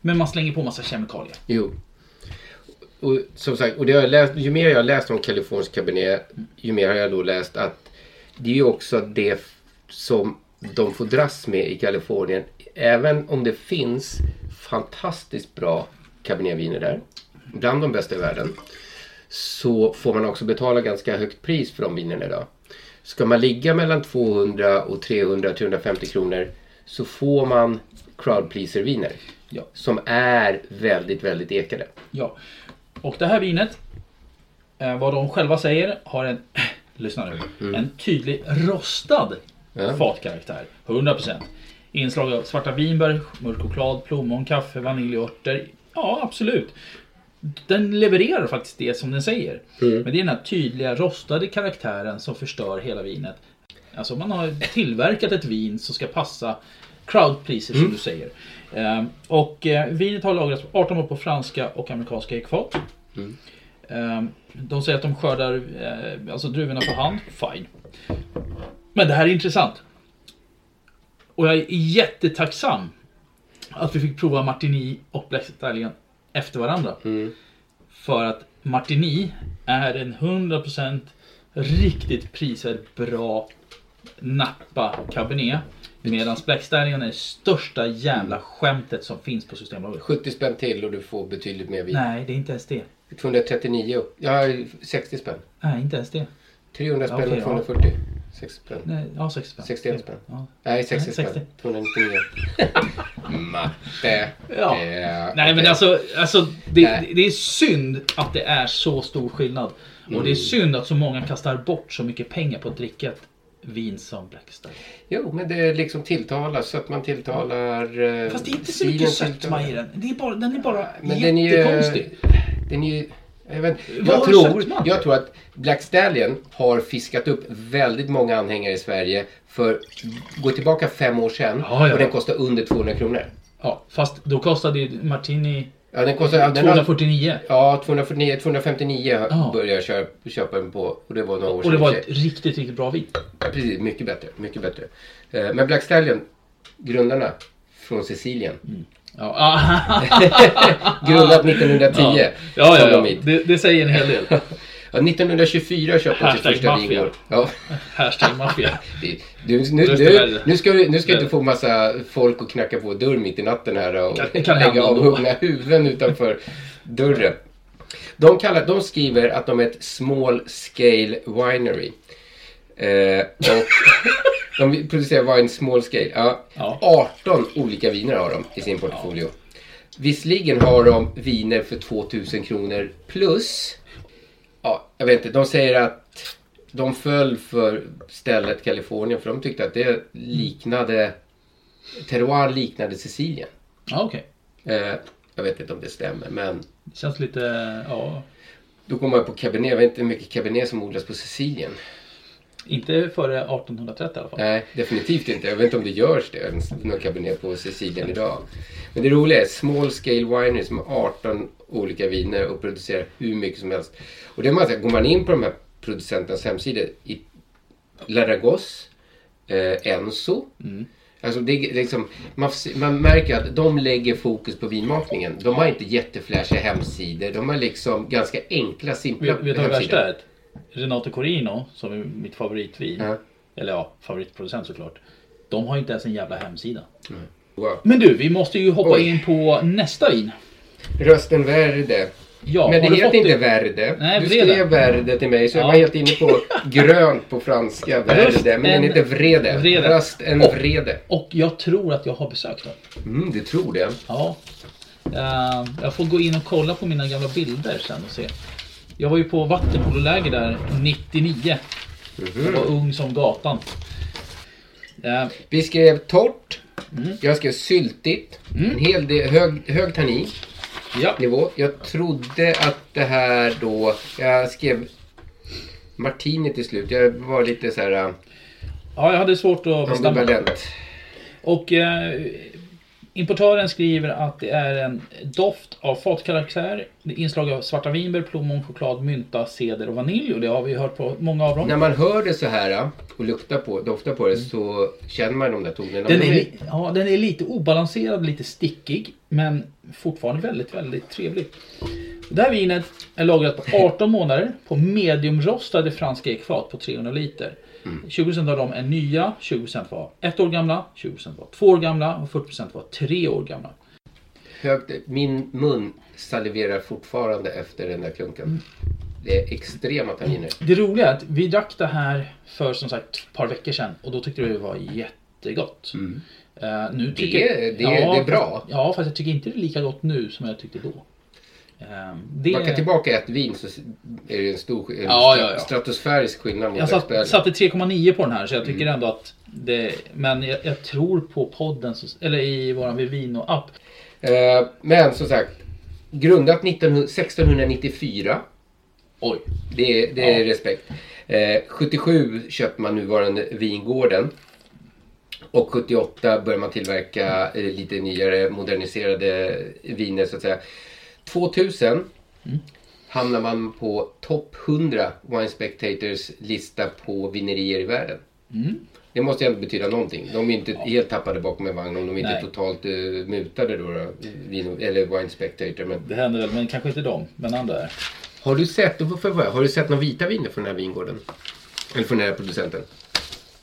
I: Men man slänger på massa kemikalier.
H: Jo. Och, som sagt, och det har jag läst, ju mer jag har läst om Kalifornisk Cabernet, ju mer har jag då läst att det är ju också det f- som de får dras med i Kalifornien. Även om det finns fantastiskt bra Cabernetviner där, bland de bästa i världen, så får man också betala ganska högt pris för de vinerna idag. Ska man ligga mellan 200 och 300, 350 kronor så får man crowd pleaser-viner. Som är väldigt, väldigt ekade.
I: Ja. Och det här vinet, eh, vad de själva säger, har en, lyssna nu, en tydlig rostad fatkaraktär. 100%. Inslag av svarta vinbär, mörk choklad, plommon, kaffe, vanilj och örter. Ja, absolut. Den levererar faktiskt det som den säger. Men det är den här tydliga rostade karaktären som förstör hela vinet. Alltså man har tillverkat ett vin som ska passa crowd pleaser som
H: Mm.
I: du säger. Ehm, och eh, vinet har lagrats 18 år på franska och amerikanska ekfat.
H: Mm.
I: Ehm, de säger att de skördar eh, alltså druvorna på hand. Fine. Men det här är intressant. Och jag är jättetacksam att vi fick prova Martini och Black Stallion efter varandra. För att Martini är en 100% riktigt prisvärd, bra, nappa cabernet. Medan Black Stallion är det största jävla skämtet som finns på Systembolaget.
H: 70 spänn till och du får betydligt mer vin.
I: Nej, det är inte ens det.
H: 239, ja 60 spänn.
I: Nej, inte ens det.
H: 300 spänn
I: Okej,
H: och
I: ja.
H: 240. 60 spänn.
I: Nej, ja, 60 spänn.
H: 61 spänn.
I: Ja.
H: Nej, 60 spänn.
I: 60.
H: 299. Matte.
I: Ja. Nej
H: Eh,
I: men
H: okej.
I: alltså, alltså det,
H: Nej.
I: det är synd att det är så stor skillnad. Och det är
H: Mm.
I: synd att så många kastar bort så mycket pengar på att dricka ett vin som Black Stallion.
H: Jo, men det är liksom tilltalas så att man tilltalar... eh,
I: Fast det är inte så mycket
H: stilen
I: sötma i den. Det är bara, den är bara
H: Men den är ju...
I: jättekonstig.
H: Den är ju... Jag, vet,
I: Vad
H: jag,
I: har du
H: tror,
I: sett, man?
H: jag tror att Black Stallion har fiskat upp väldigt många anhängare i Sverige för gå tillbaka fem år sedan
I: Ja, ja.
H: och den kostar under 200 kronor.
I: Ja, fast då kostade ju Martini
H: Ja, den kostar, den har-
I: 249.
H: Ja, 249, 259
I: Ja.
H: började jag köpa, köpa den på och det var några år
I: Och det var
H: i och
I: ett
H: för sig.
I: riktigt, riktigt bra vin.
H: Precis, mycket bättre, mycket bättre. Eh, Men Black Stallion, grundarna från Sicilien.
I: Mm. Ja.
H: Grundat 1910.
I: Ja, ja, ja.
H: kom de
I: ja.
H: hit.
I: Det, det säger en hel del.
H: Ja, 1924 köpte han sitt
I: Hashtag
H: första
I: maffia.
H: vingård. Ja.
I: Hashtag maffia.
H: Du, du, nu,
I: Röster
H: nu,
I: värre.
H: nu ska du, nu ska du inte få massa folk att knacka på dörr mitt i natten här och
I: Det kan
H: lägga
I: hända
H: av
I: ändå.
H: unga huvuden utanför dörren. De, kallar, de skriver att de är ett small scale winery. Eh, och de producerar wine small scale. Ja, 18 olika viner har de i sin portfolio. Visserligen har de viner för 2000 kronor plus. Ja, jag vet inte, de säger att de föll för stället Kalifornien för de tyckte att det liknade Terroir liknade Sicilien.
I: Ja, okej.
H: Eh, jag vet inte om det stämmer men
I: Det känns lite, ja.
H: då går man på cabernet. Jag vet inte hur mycket cabernet som odlas på Sicilien.
I: Inte före 1830 i alla fall.
H: Nej, definitivt inte. Jag vet inte om det görs det ens, någon cabernet på Sicilien idag. Men det roliga är Small Scale Winery som har 18 olika viner och producerar hur mycket som helst. Och det är massa, går man in på de här producenternas hemsidor, i Laragos, eh, Enso.
I: Mm.
H: Alltså det är liksom, man, f- man märker att de lägger fokus på vinmakningen. De har inte jätteflashiga hemsidor. De har liksom ganska enkla, simpla
I: Vet, vet du vad det värsta
H: hemsidor.
I: är? Renato Corino, som är mitt favoritvin. Eller ja, favoritproducent såklart. De har inte ens en jävla hemsida.
H: Wow.
I: Men du, vi måste ju hoppa
H: Oj.
I: in på nästa vin.
H: Rösten Verde.
I: Ja,
H: men det
I: har du
H: heter
I: fått
H: inte
I: det?
H: Verde.
I: Nej,
H: du
I: Vrede.
H: skrev Verde till mig så jag
I: Ja.
H: var helt inne på grönt på franska.
I: Röst
H: Verde. Men
I: en
H: den heter Vrede.
I: vrede.
H: Röst en
I: Och-
H: Vrede.
I: Och jag tror att jag har besökt dem.
H: Mm, du tror det?
I: Ja. Eh, jag får gå in och kolla på mina gamla bilder sen och se. Jag var ju på vattenpololäger där 99. Jag var ung som gatan. Ehm,
H: Vi skrev torrt.
I: Mm.
H: Jag skrev syltigt. En hel del, hög, hög tannin. Nivå. Jag trodde att det här då... Jag skrev Martini till slut. Jag var lite så här... äh,
I: Ja, jag hade svårt att bestämma.
H: Ambivalent.
I: Och eh, importören skriver att det är en doft av fatkaraktär. Det är inslag av svarta vinbär, plommon, choklad, mynta, ceder och vanilj. Och det har vi ju hört på många av dem.
H: När man hör det så här äh, och luktar på, doftar på det så känner man de där tonerna.
I: Den
H: Men
I: är,
H: de
I: li- ja, den är lite obalanserad, lite stickig. Men fortfarande väldigt, väldigt trevlig. Det här vinet är lagrat på 18 månader på mediumrostade franska ekfat på 300 liter. 20% av dem är nya, 20% var ett år gamla, 20% var två år gamla och 40% var tre år gamla. Mm.
H: Högt, min mun saliverar fortfarande efter den där klunken. Det är extrema tanniner.
I: Det roliga är att vi drack det här för som sagt ett par veckor sedan och då tyckte vi det var jättegott. Eh, nu
H: Mm. Det
I: tycker,
H: är- det är- det är bra.
I: Fast, ja, fast jag tycker inte det är lika gott nu som jag tyckte då. Eh, det-
H: Backa tillbaka ett vin så är det en stor en
I: Ja, ja, ja.
H: stratosfärisk skillnad mot
I: Jag satt,
H: dagsbären.
I: satte 3,9 på den här så jag
H: Mm.
I: tycker ändå att det, Men jag, jag tror på podden, så- eller i våran Vivino-app.
H: Eh, Men som sagt, grundat 1900 1694.
I: Oj.
H: Det är, det är
I: Ja.
H: respekt. Eh, 77 köpte man nuvarande vingården. Och 78 började man tillverka eh, lite nyare moderniserade viner så att säga. 2000
I: Mm.
H: hamnar man på topp 100 Wine Spectators lista på vinerier i världen.
I: Mm.
H: Det måste ju ändå betyda någonting. De är inte helt tappade bakom en vagn om de inte
I: Nej.
H: är totalt eh, mutade då. då vin, eller Wine Spectator. Men...
I: Det händer väl, men kanske inte dem, men andra är.
H: Har du sett, då får jag börja. har du sett några vita viner från den här vingården? Eller från den här producenten?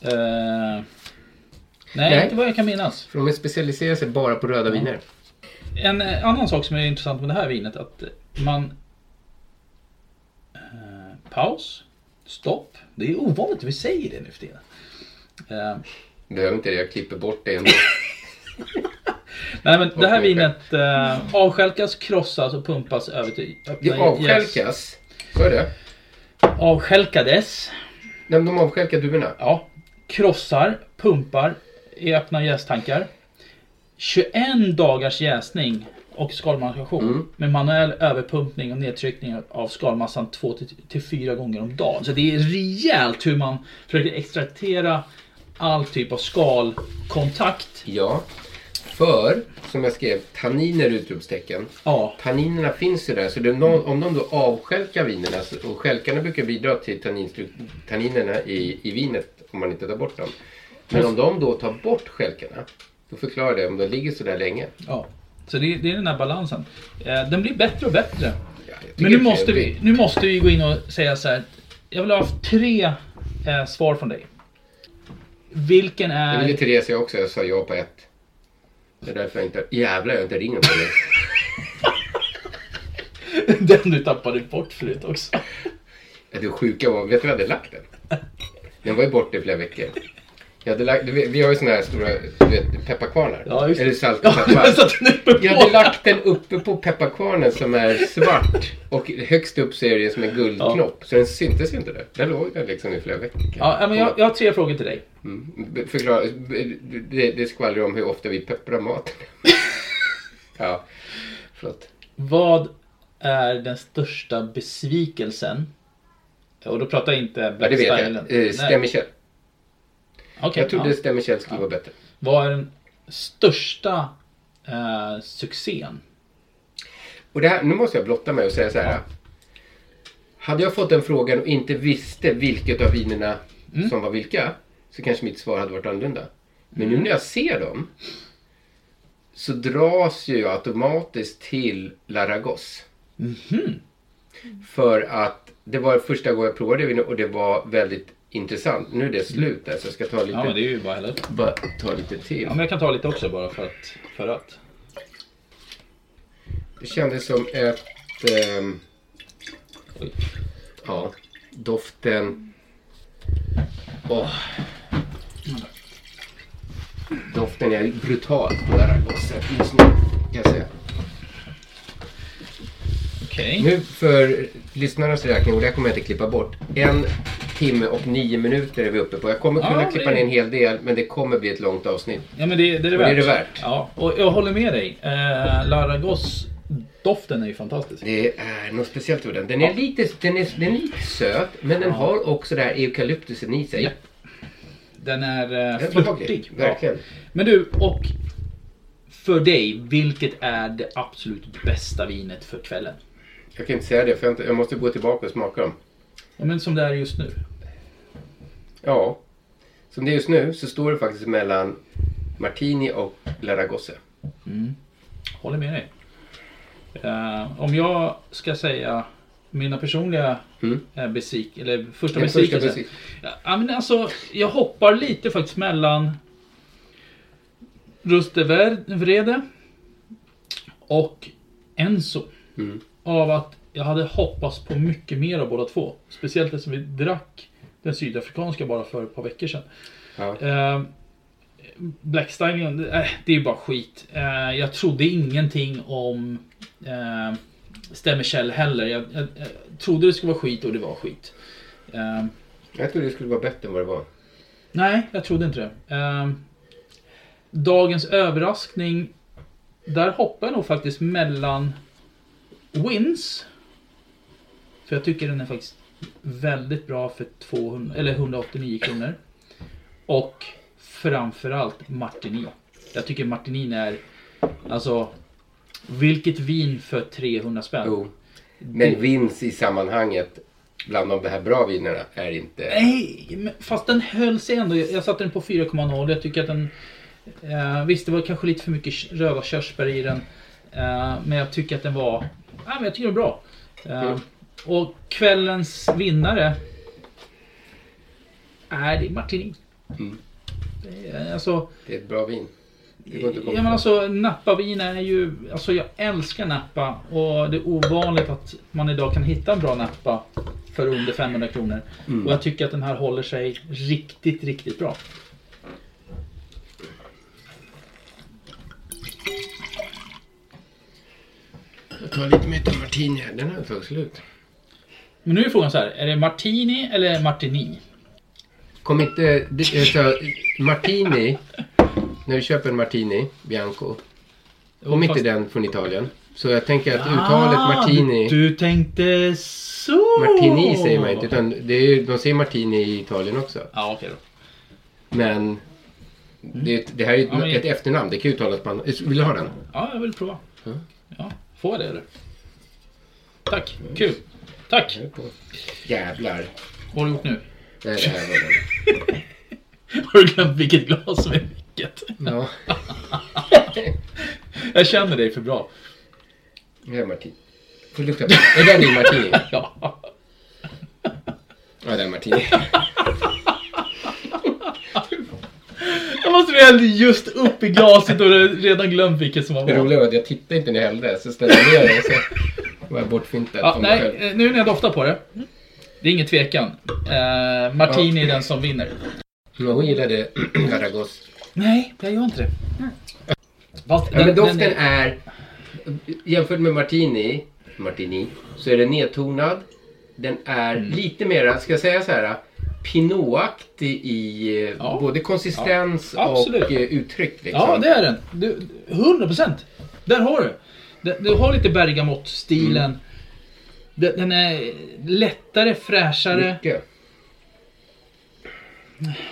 I: Eh, nej,
H: Nej.
I: inte vad jag kan minnas.
H: För de specialiserar sig bara på röda viner.
I: En eh, annan sak som är intressant med det här vinet att eh, man... Eh, paus. Stopp. Det är ovanligt att vi säger det nu för tiden. Eh,
H: Behöver inte det, jag klipper bort det ändå.
I: nej men det här
H: Okej, okej.
I: vinet eh, avskälkas, krossas och pumpas över till öppna
H: Det avskälkas. Vad är det?
I: Avskälkades.
H: Nej, men de avskälkar duvorna.
I: Ja. Krossar, pumpar i öppna jästankar. 21 dagars jäsning och skalmanipulation med manuell överpumpning och nedtryckning av skalmassan 2-4 gånger om dagen. Så det är rejält hur man försöker extraktera all typ av skalkontakt.
H: Ja. För, som jag skrev, tanniner utropstecken.
I: Ja.
H: Tanninerna finns ju där. Så det är någon, om de då avskälkar vinerna, så- och skälkarna brukar bidra till tanninstru- tanninerna i, i vinet om man inte tar bort dem. Men om de då tar bort skälkarna, då förklarar det om de ligger så där länge.
I: Ja. Så det, det är den här balansen. Eh, den blir bättre och bättre.
H: tycker
I: Men nu
H: det är
I: måste, vi,
H: trevligt.
I: nu måste vi gå in och säga så här. Jag vill ha haft tre eh, svar från dig. Vilken
H: Det
I: är...
H: ville Therese jag också, jag sa ja på ett. Det är därför jag inte... Jävlar, jag har inte ringen på dig.
I: Den du tappade bort förut också.
H: Ja, Det sjuka var, vet du var jag hade lagt den? Den var ju borta i flera veckor. Jag hade lagt, du vet, vi har ju såna här stora du vet, pepparkvarnar.
I: Ja, just det.
H: Eller salt
I: Ja, jag satte den uppe
H: Jag hade
I: på.
H: lagt den uppe på pepparkvarnen som är svart. Och högst upp så är det som en guldknopp. Så den syntes ju inte där. Den låg där liksom i flera veckor.
I: Ja, men jag, jag har tre frågor till dig.
H: Mm. B- Förklara, b- det, det skvallrar om hur ofta vi pepprar maten. ja, förlåt.
I: Vad är den största besvikelsen? Och då pratar jag inte
H: Ja,
I: Black
H: det vet
I: Stylen.
H: jag. Eh,
I: Nej.
H: Stämmerkäll.
I: Okej,
H: jag trodde
I: ja.
H: Stämmerkäll skulle vara bättre.
I: Vad är den största eh, succén?
H: Och det här, nu måste jag blotta mig och säga så här. Hade jag fått den frågan och inte visste vilket av vinerna
I: Mm.
H: som var vilka så kanske mitt svar hade varit annorlunda. Men
I: Mm.
H: nu när jag ser dem så dras ju jag automatiskt till Laragos.
I: Mhm.
H: För att det var första gången jag provade viner och det var väldigt intressant. Nu är det slut där så jag ska ta lite,
I: Ja, men det är ju bara hela
H: bara ta lite till.
I: Ja, men jag kan ta lite också bara för att. För att.
H: Det kändes som ett... ehm, ja, doften... Åh. Doften är brutal på Laragosse just nu, kan jag säga.
I: Okej.
H: Nu för lyssnarnas räkning, och det här kommer jag inte klippa bort. En timme och nio minuter är vi uppe på. Jag kommer kunna
I: Ja,
H: klippa
I: det-
H: ner en hel del, men det kommer bli ett långt avsnitt.
I: Ja, men det, det är det
H: Och
I: värt.
H: det är det värt.
I: Ja, och jag håller med dig. Eh, Laragos doften är ju fantastisk.
H: Det är något speciellt över den. Den är, lite, den, är, den är lite söt, men den har också det här eukalyptusen i sig.
I: Ja. Den är eh,
H: Den är
I: flörtig.
H: behaglig,
I: Ja.
H: verkligen.
I: Men du, och för dig, vilket är det absolut bästa vinet för kvällen?
H: Jag kan inte säga det, för jag, inte, jag måste gå tillbaka och smaka dem.
I: Ja, men som det är just nu.
H: Ja, som det är just nu så står det faktiskt mellan Martini och Laragosse.
I: Håller med dig. Eh, om jag ska säga mina personliga eh, besvik, eller första
H: Den Mm. första
I: besvikelsen.
H: besvikelsen.
I: ja, men alltså, jag hoppar lite faktiskt mellan Rustevrede och Enzo. Av att jag hade hoppats på mycket mer av båda två. Speciellt eftersom vi drack den sydafrikanska bara för ett par veckor sedan. Eh, Black Stallion, eh, det är bara skit. Eh, jag trodde ingenting om eh, Stämmer Kjell heller. Jag, jag, jag trodde det skulle vara skit och det var skit. Eh,
H: Jag trodde det skulle vara bättre än vad det var.
I: Nej, jag trodde inte det. Ehm, dagens överraskning. Där hoppar jag nog faktiskt mellan Wins. För jag tycker den är faktiskt väldigt bra för 200, eller 189 kronor. Och framförallt Martini. Jag tycker Martinin är, alltså, vilket vin för 300 spänn.
H: Oh.
I: Det-
H: Men vinst i sammanhanget bland de här bra vinerna är inte...
I: Nej, men fast den höll sig ändå. Jag jag satte den på 4,0. Jag tycker att den... Eh, visst, det var kanske lite för mycket k- röda körsbär i den. Eh, men jag tycker att den var... Nej, men jag tycker den var bra. Eh,
H: Mm.
I: Och kvällens vinnare... Är det är Martini.
H: Mm.
I: Det är, Alltså,
H: Det är ett bra vin. Det går inte att komma
I: Ja men
H: ifrån.
I: alltså Napa-vin är ju, alltså jag älskar Napa och det är ovanligt att man idag kan hitta en bra Napa för under 500 kronor.
H: Mm.
I: Och jag tycker att den här håller sig riktigt, riktigt bra.
H: Jag tar lite mer martini här. Den här tog slut.
I: Men nu är frågan så här, är det Martini eller Martini?
H: Kom inte... det- Alltså, martini. När du köper en martini, Bianco. Kom inte den från Italien. Så jag tänker att uttalet
I: Ah,
H: martini...
I: Du, du tänkte så!
H: Martini säger man inte. Utan det är, ju- de säger martini i Italien också.
I: Ja, okej då.
H: Men... Det, är ett- det här är ju ett,
I: Ja, men-
H: ett efternamn. Det kan ju uttalas på annat... Vill du ha den?
I: Ja, jag vill prova.
H: Ja.
I: Ja, får jag det eller? Tack,
H: Mm.
I: kul. Tack!
H: Jävlar.
I: Vad har du gjort nu?
H: Nej, det här var den.
I: Har du glömt vilket glas som är vilket?
H: Ja.
I: jag känner dig för bra.
H: Det här är martini. Får lukta på den. Är den din martini?
I: Ja.
H: Ja, det är martini.
I: Jag måste väl hälla just upp i glaset och redan glömt vilket som var
H: Det
I: vad.
H: roliga var att jag tittade inte när jag hällde. Så ställde jag ner det så var jag bortfintad.
I: Ja,
H: från mig
I: nej,
H: själv.
I: eh, nu när jag doftar på det. Det är ingen tvekan. Eh, Martini är den som vinner.
H: Men hon gillade Garagos.
I: Nej, jag gör inte det. Fast
H: Ja,
I: den-
H: men doften
I: den
H: är... Jämfört med Martini, Martini, så är den nedtonad. Den är
I: Mm.
H: lite mera, ska jag säga så här, pinotaktig i eh, både konsistens
I: Ja, absolut.
H: och eh, uttryck. Liksom.
I: Ja, det är den. Du, 100 procent. Där har du. Den, du har lite bergamottstilen.
H: Mm.
I: Den, den är lättare, fräschare.
H: Mycket.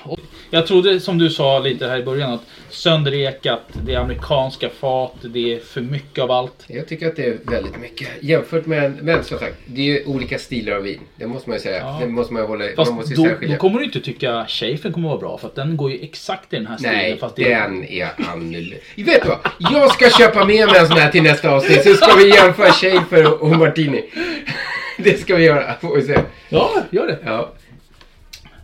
I: Och Jag trodde som du sa lite här i början att sönderekat, det är amerikanska fat, det är för mycket av allt.
H: Jag tycker att det är väldigt mycket. Jämfört med, men som sagt, det är ju olika stilar av vin. Det måste man ju säga.
I: Ja.
H: Det måste man ju hålla, man måste
I: Fast
H: ju
I: då,
H: särskilja.
I: då kommer du inte tycka Schaefen kommer vara bra för att den går ju exakt i den här stilen.
H: Nej,
I: fast det är...
H: den är annorlunda. Vet du vad? Jag ska köpa med mig en sån här till nästa avsnitt så ska vi jämföra Schaefer och Martini. Det ska vi göra. Får vi se.
I: Ja, gör det.
H: Ja.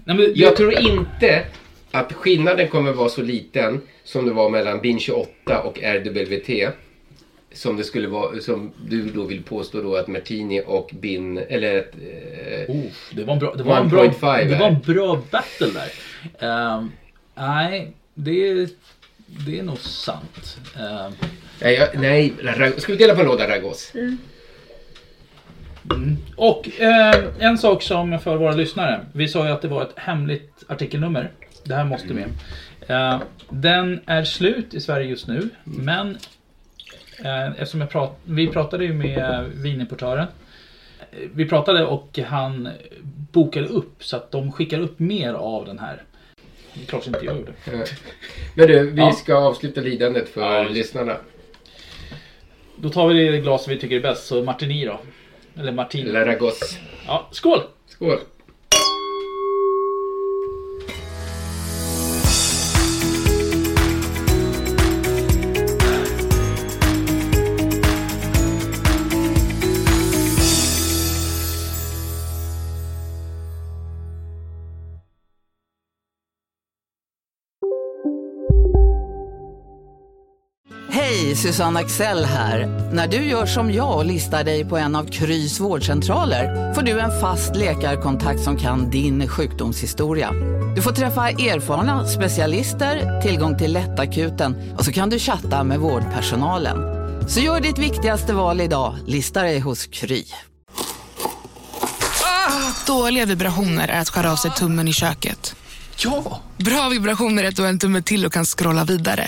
I: Nej, men,
H: Jag tror inte att skillnaden kommer vara så liten som det var mellan BIN 28 och RWT. Som det skulle vara, som du då vill påstå då att Martini och BIN, eller... Eh,
I: Oh, det var en bra, det var en bra,
H: 1.5
I: det
H: här.
I: var en bra battle där. Ehm, nej, det är, det är nog sant. Ehm,
H: Nej, jag, nej, Rag- ska vi dela på en låda Ragos?
I: och ehm, en sak som för våra lyssnare. Vi sa ju att det var ett hemligt artikelnummer. Det här måste med. Ehm, den är slut i Sverige just nu, men Eh, Eftersom jag prat, vi pratade ju med vinimportören. Eh, Vi pratade och han bokade upp så att de skickar upp mer av den här. Det är klart inte jag gjorde.
H: Men du, vi
I: Ja.
H: ska avsluta lidandet för lyssnarna.
I: Då tar vi det glas vi tycker är bäst, så Martini då. Eller Martini.
H: La Ragos.
I: Ja, skål!
H: Skål!
A: Hej, Hej, Susanne Axel här. När du gör som jag och listar dig på en av Krys vårdcentraler får du en fast läkarkontakt som kan din sjukdomshistoria. Du får träffa erfarna specialister, tillgång till lättakuten och så kan du chatta med vårdpersonalen. Så gör ditt viktigaste val idag, listar dig hos Kry.
D: Dåliga vibrationer är att skära av sig tummen i köket.
I: Ja!
D: Bra vibrationer är att du har en tumme till och kan scrolla vidare.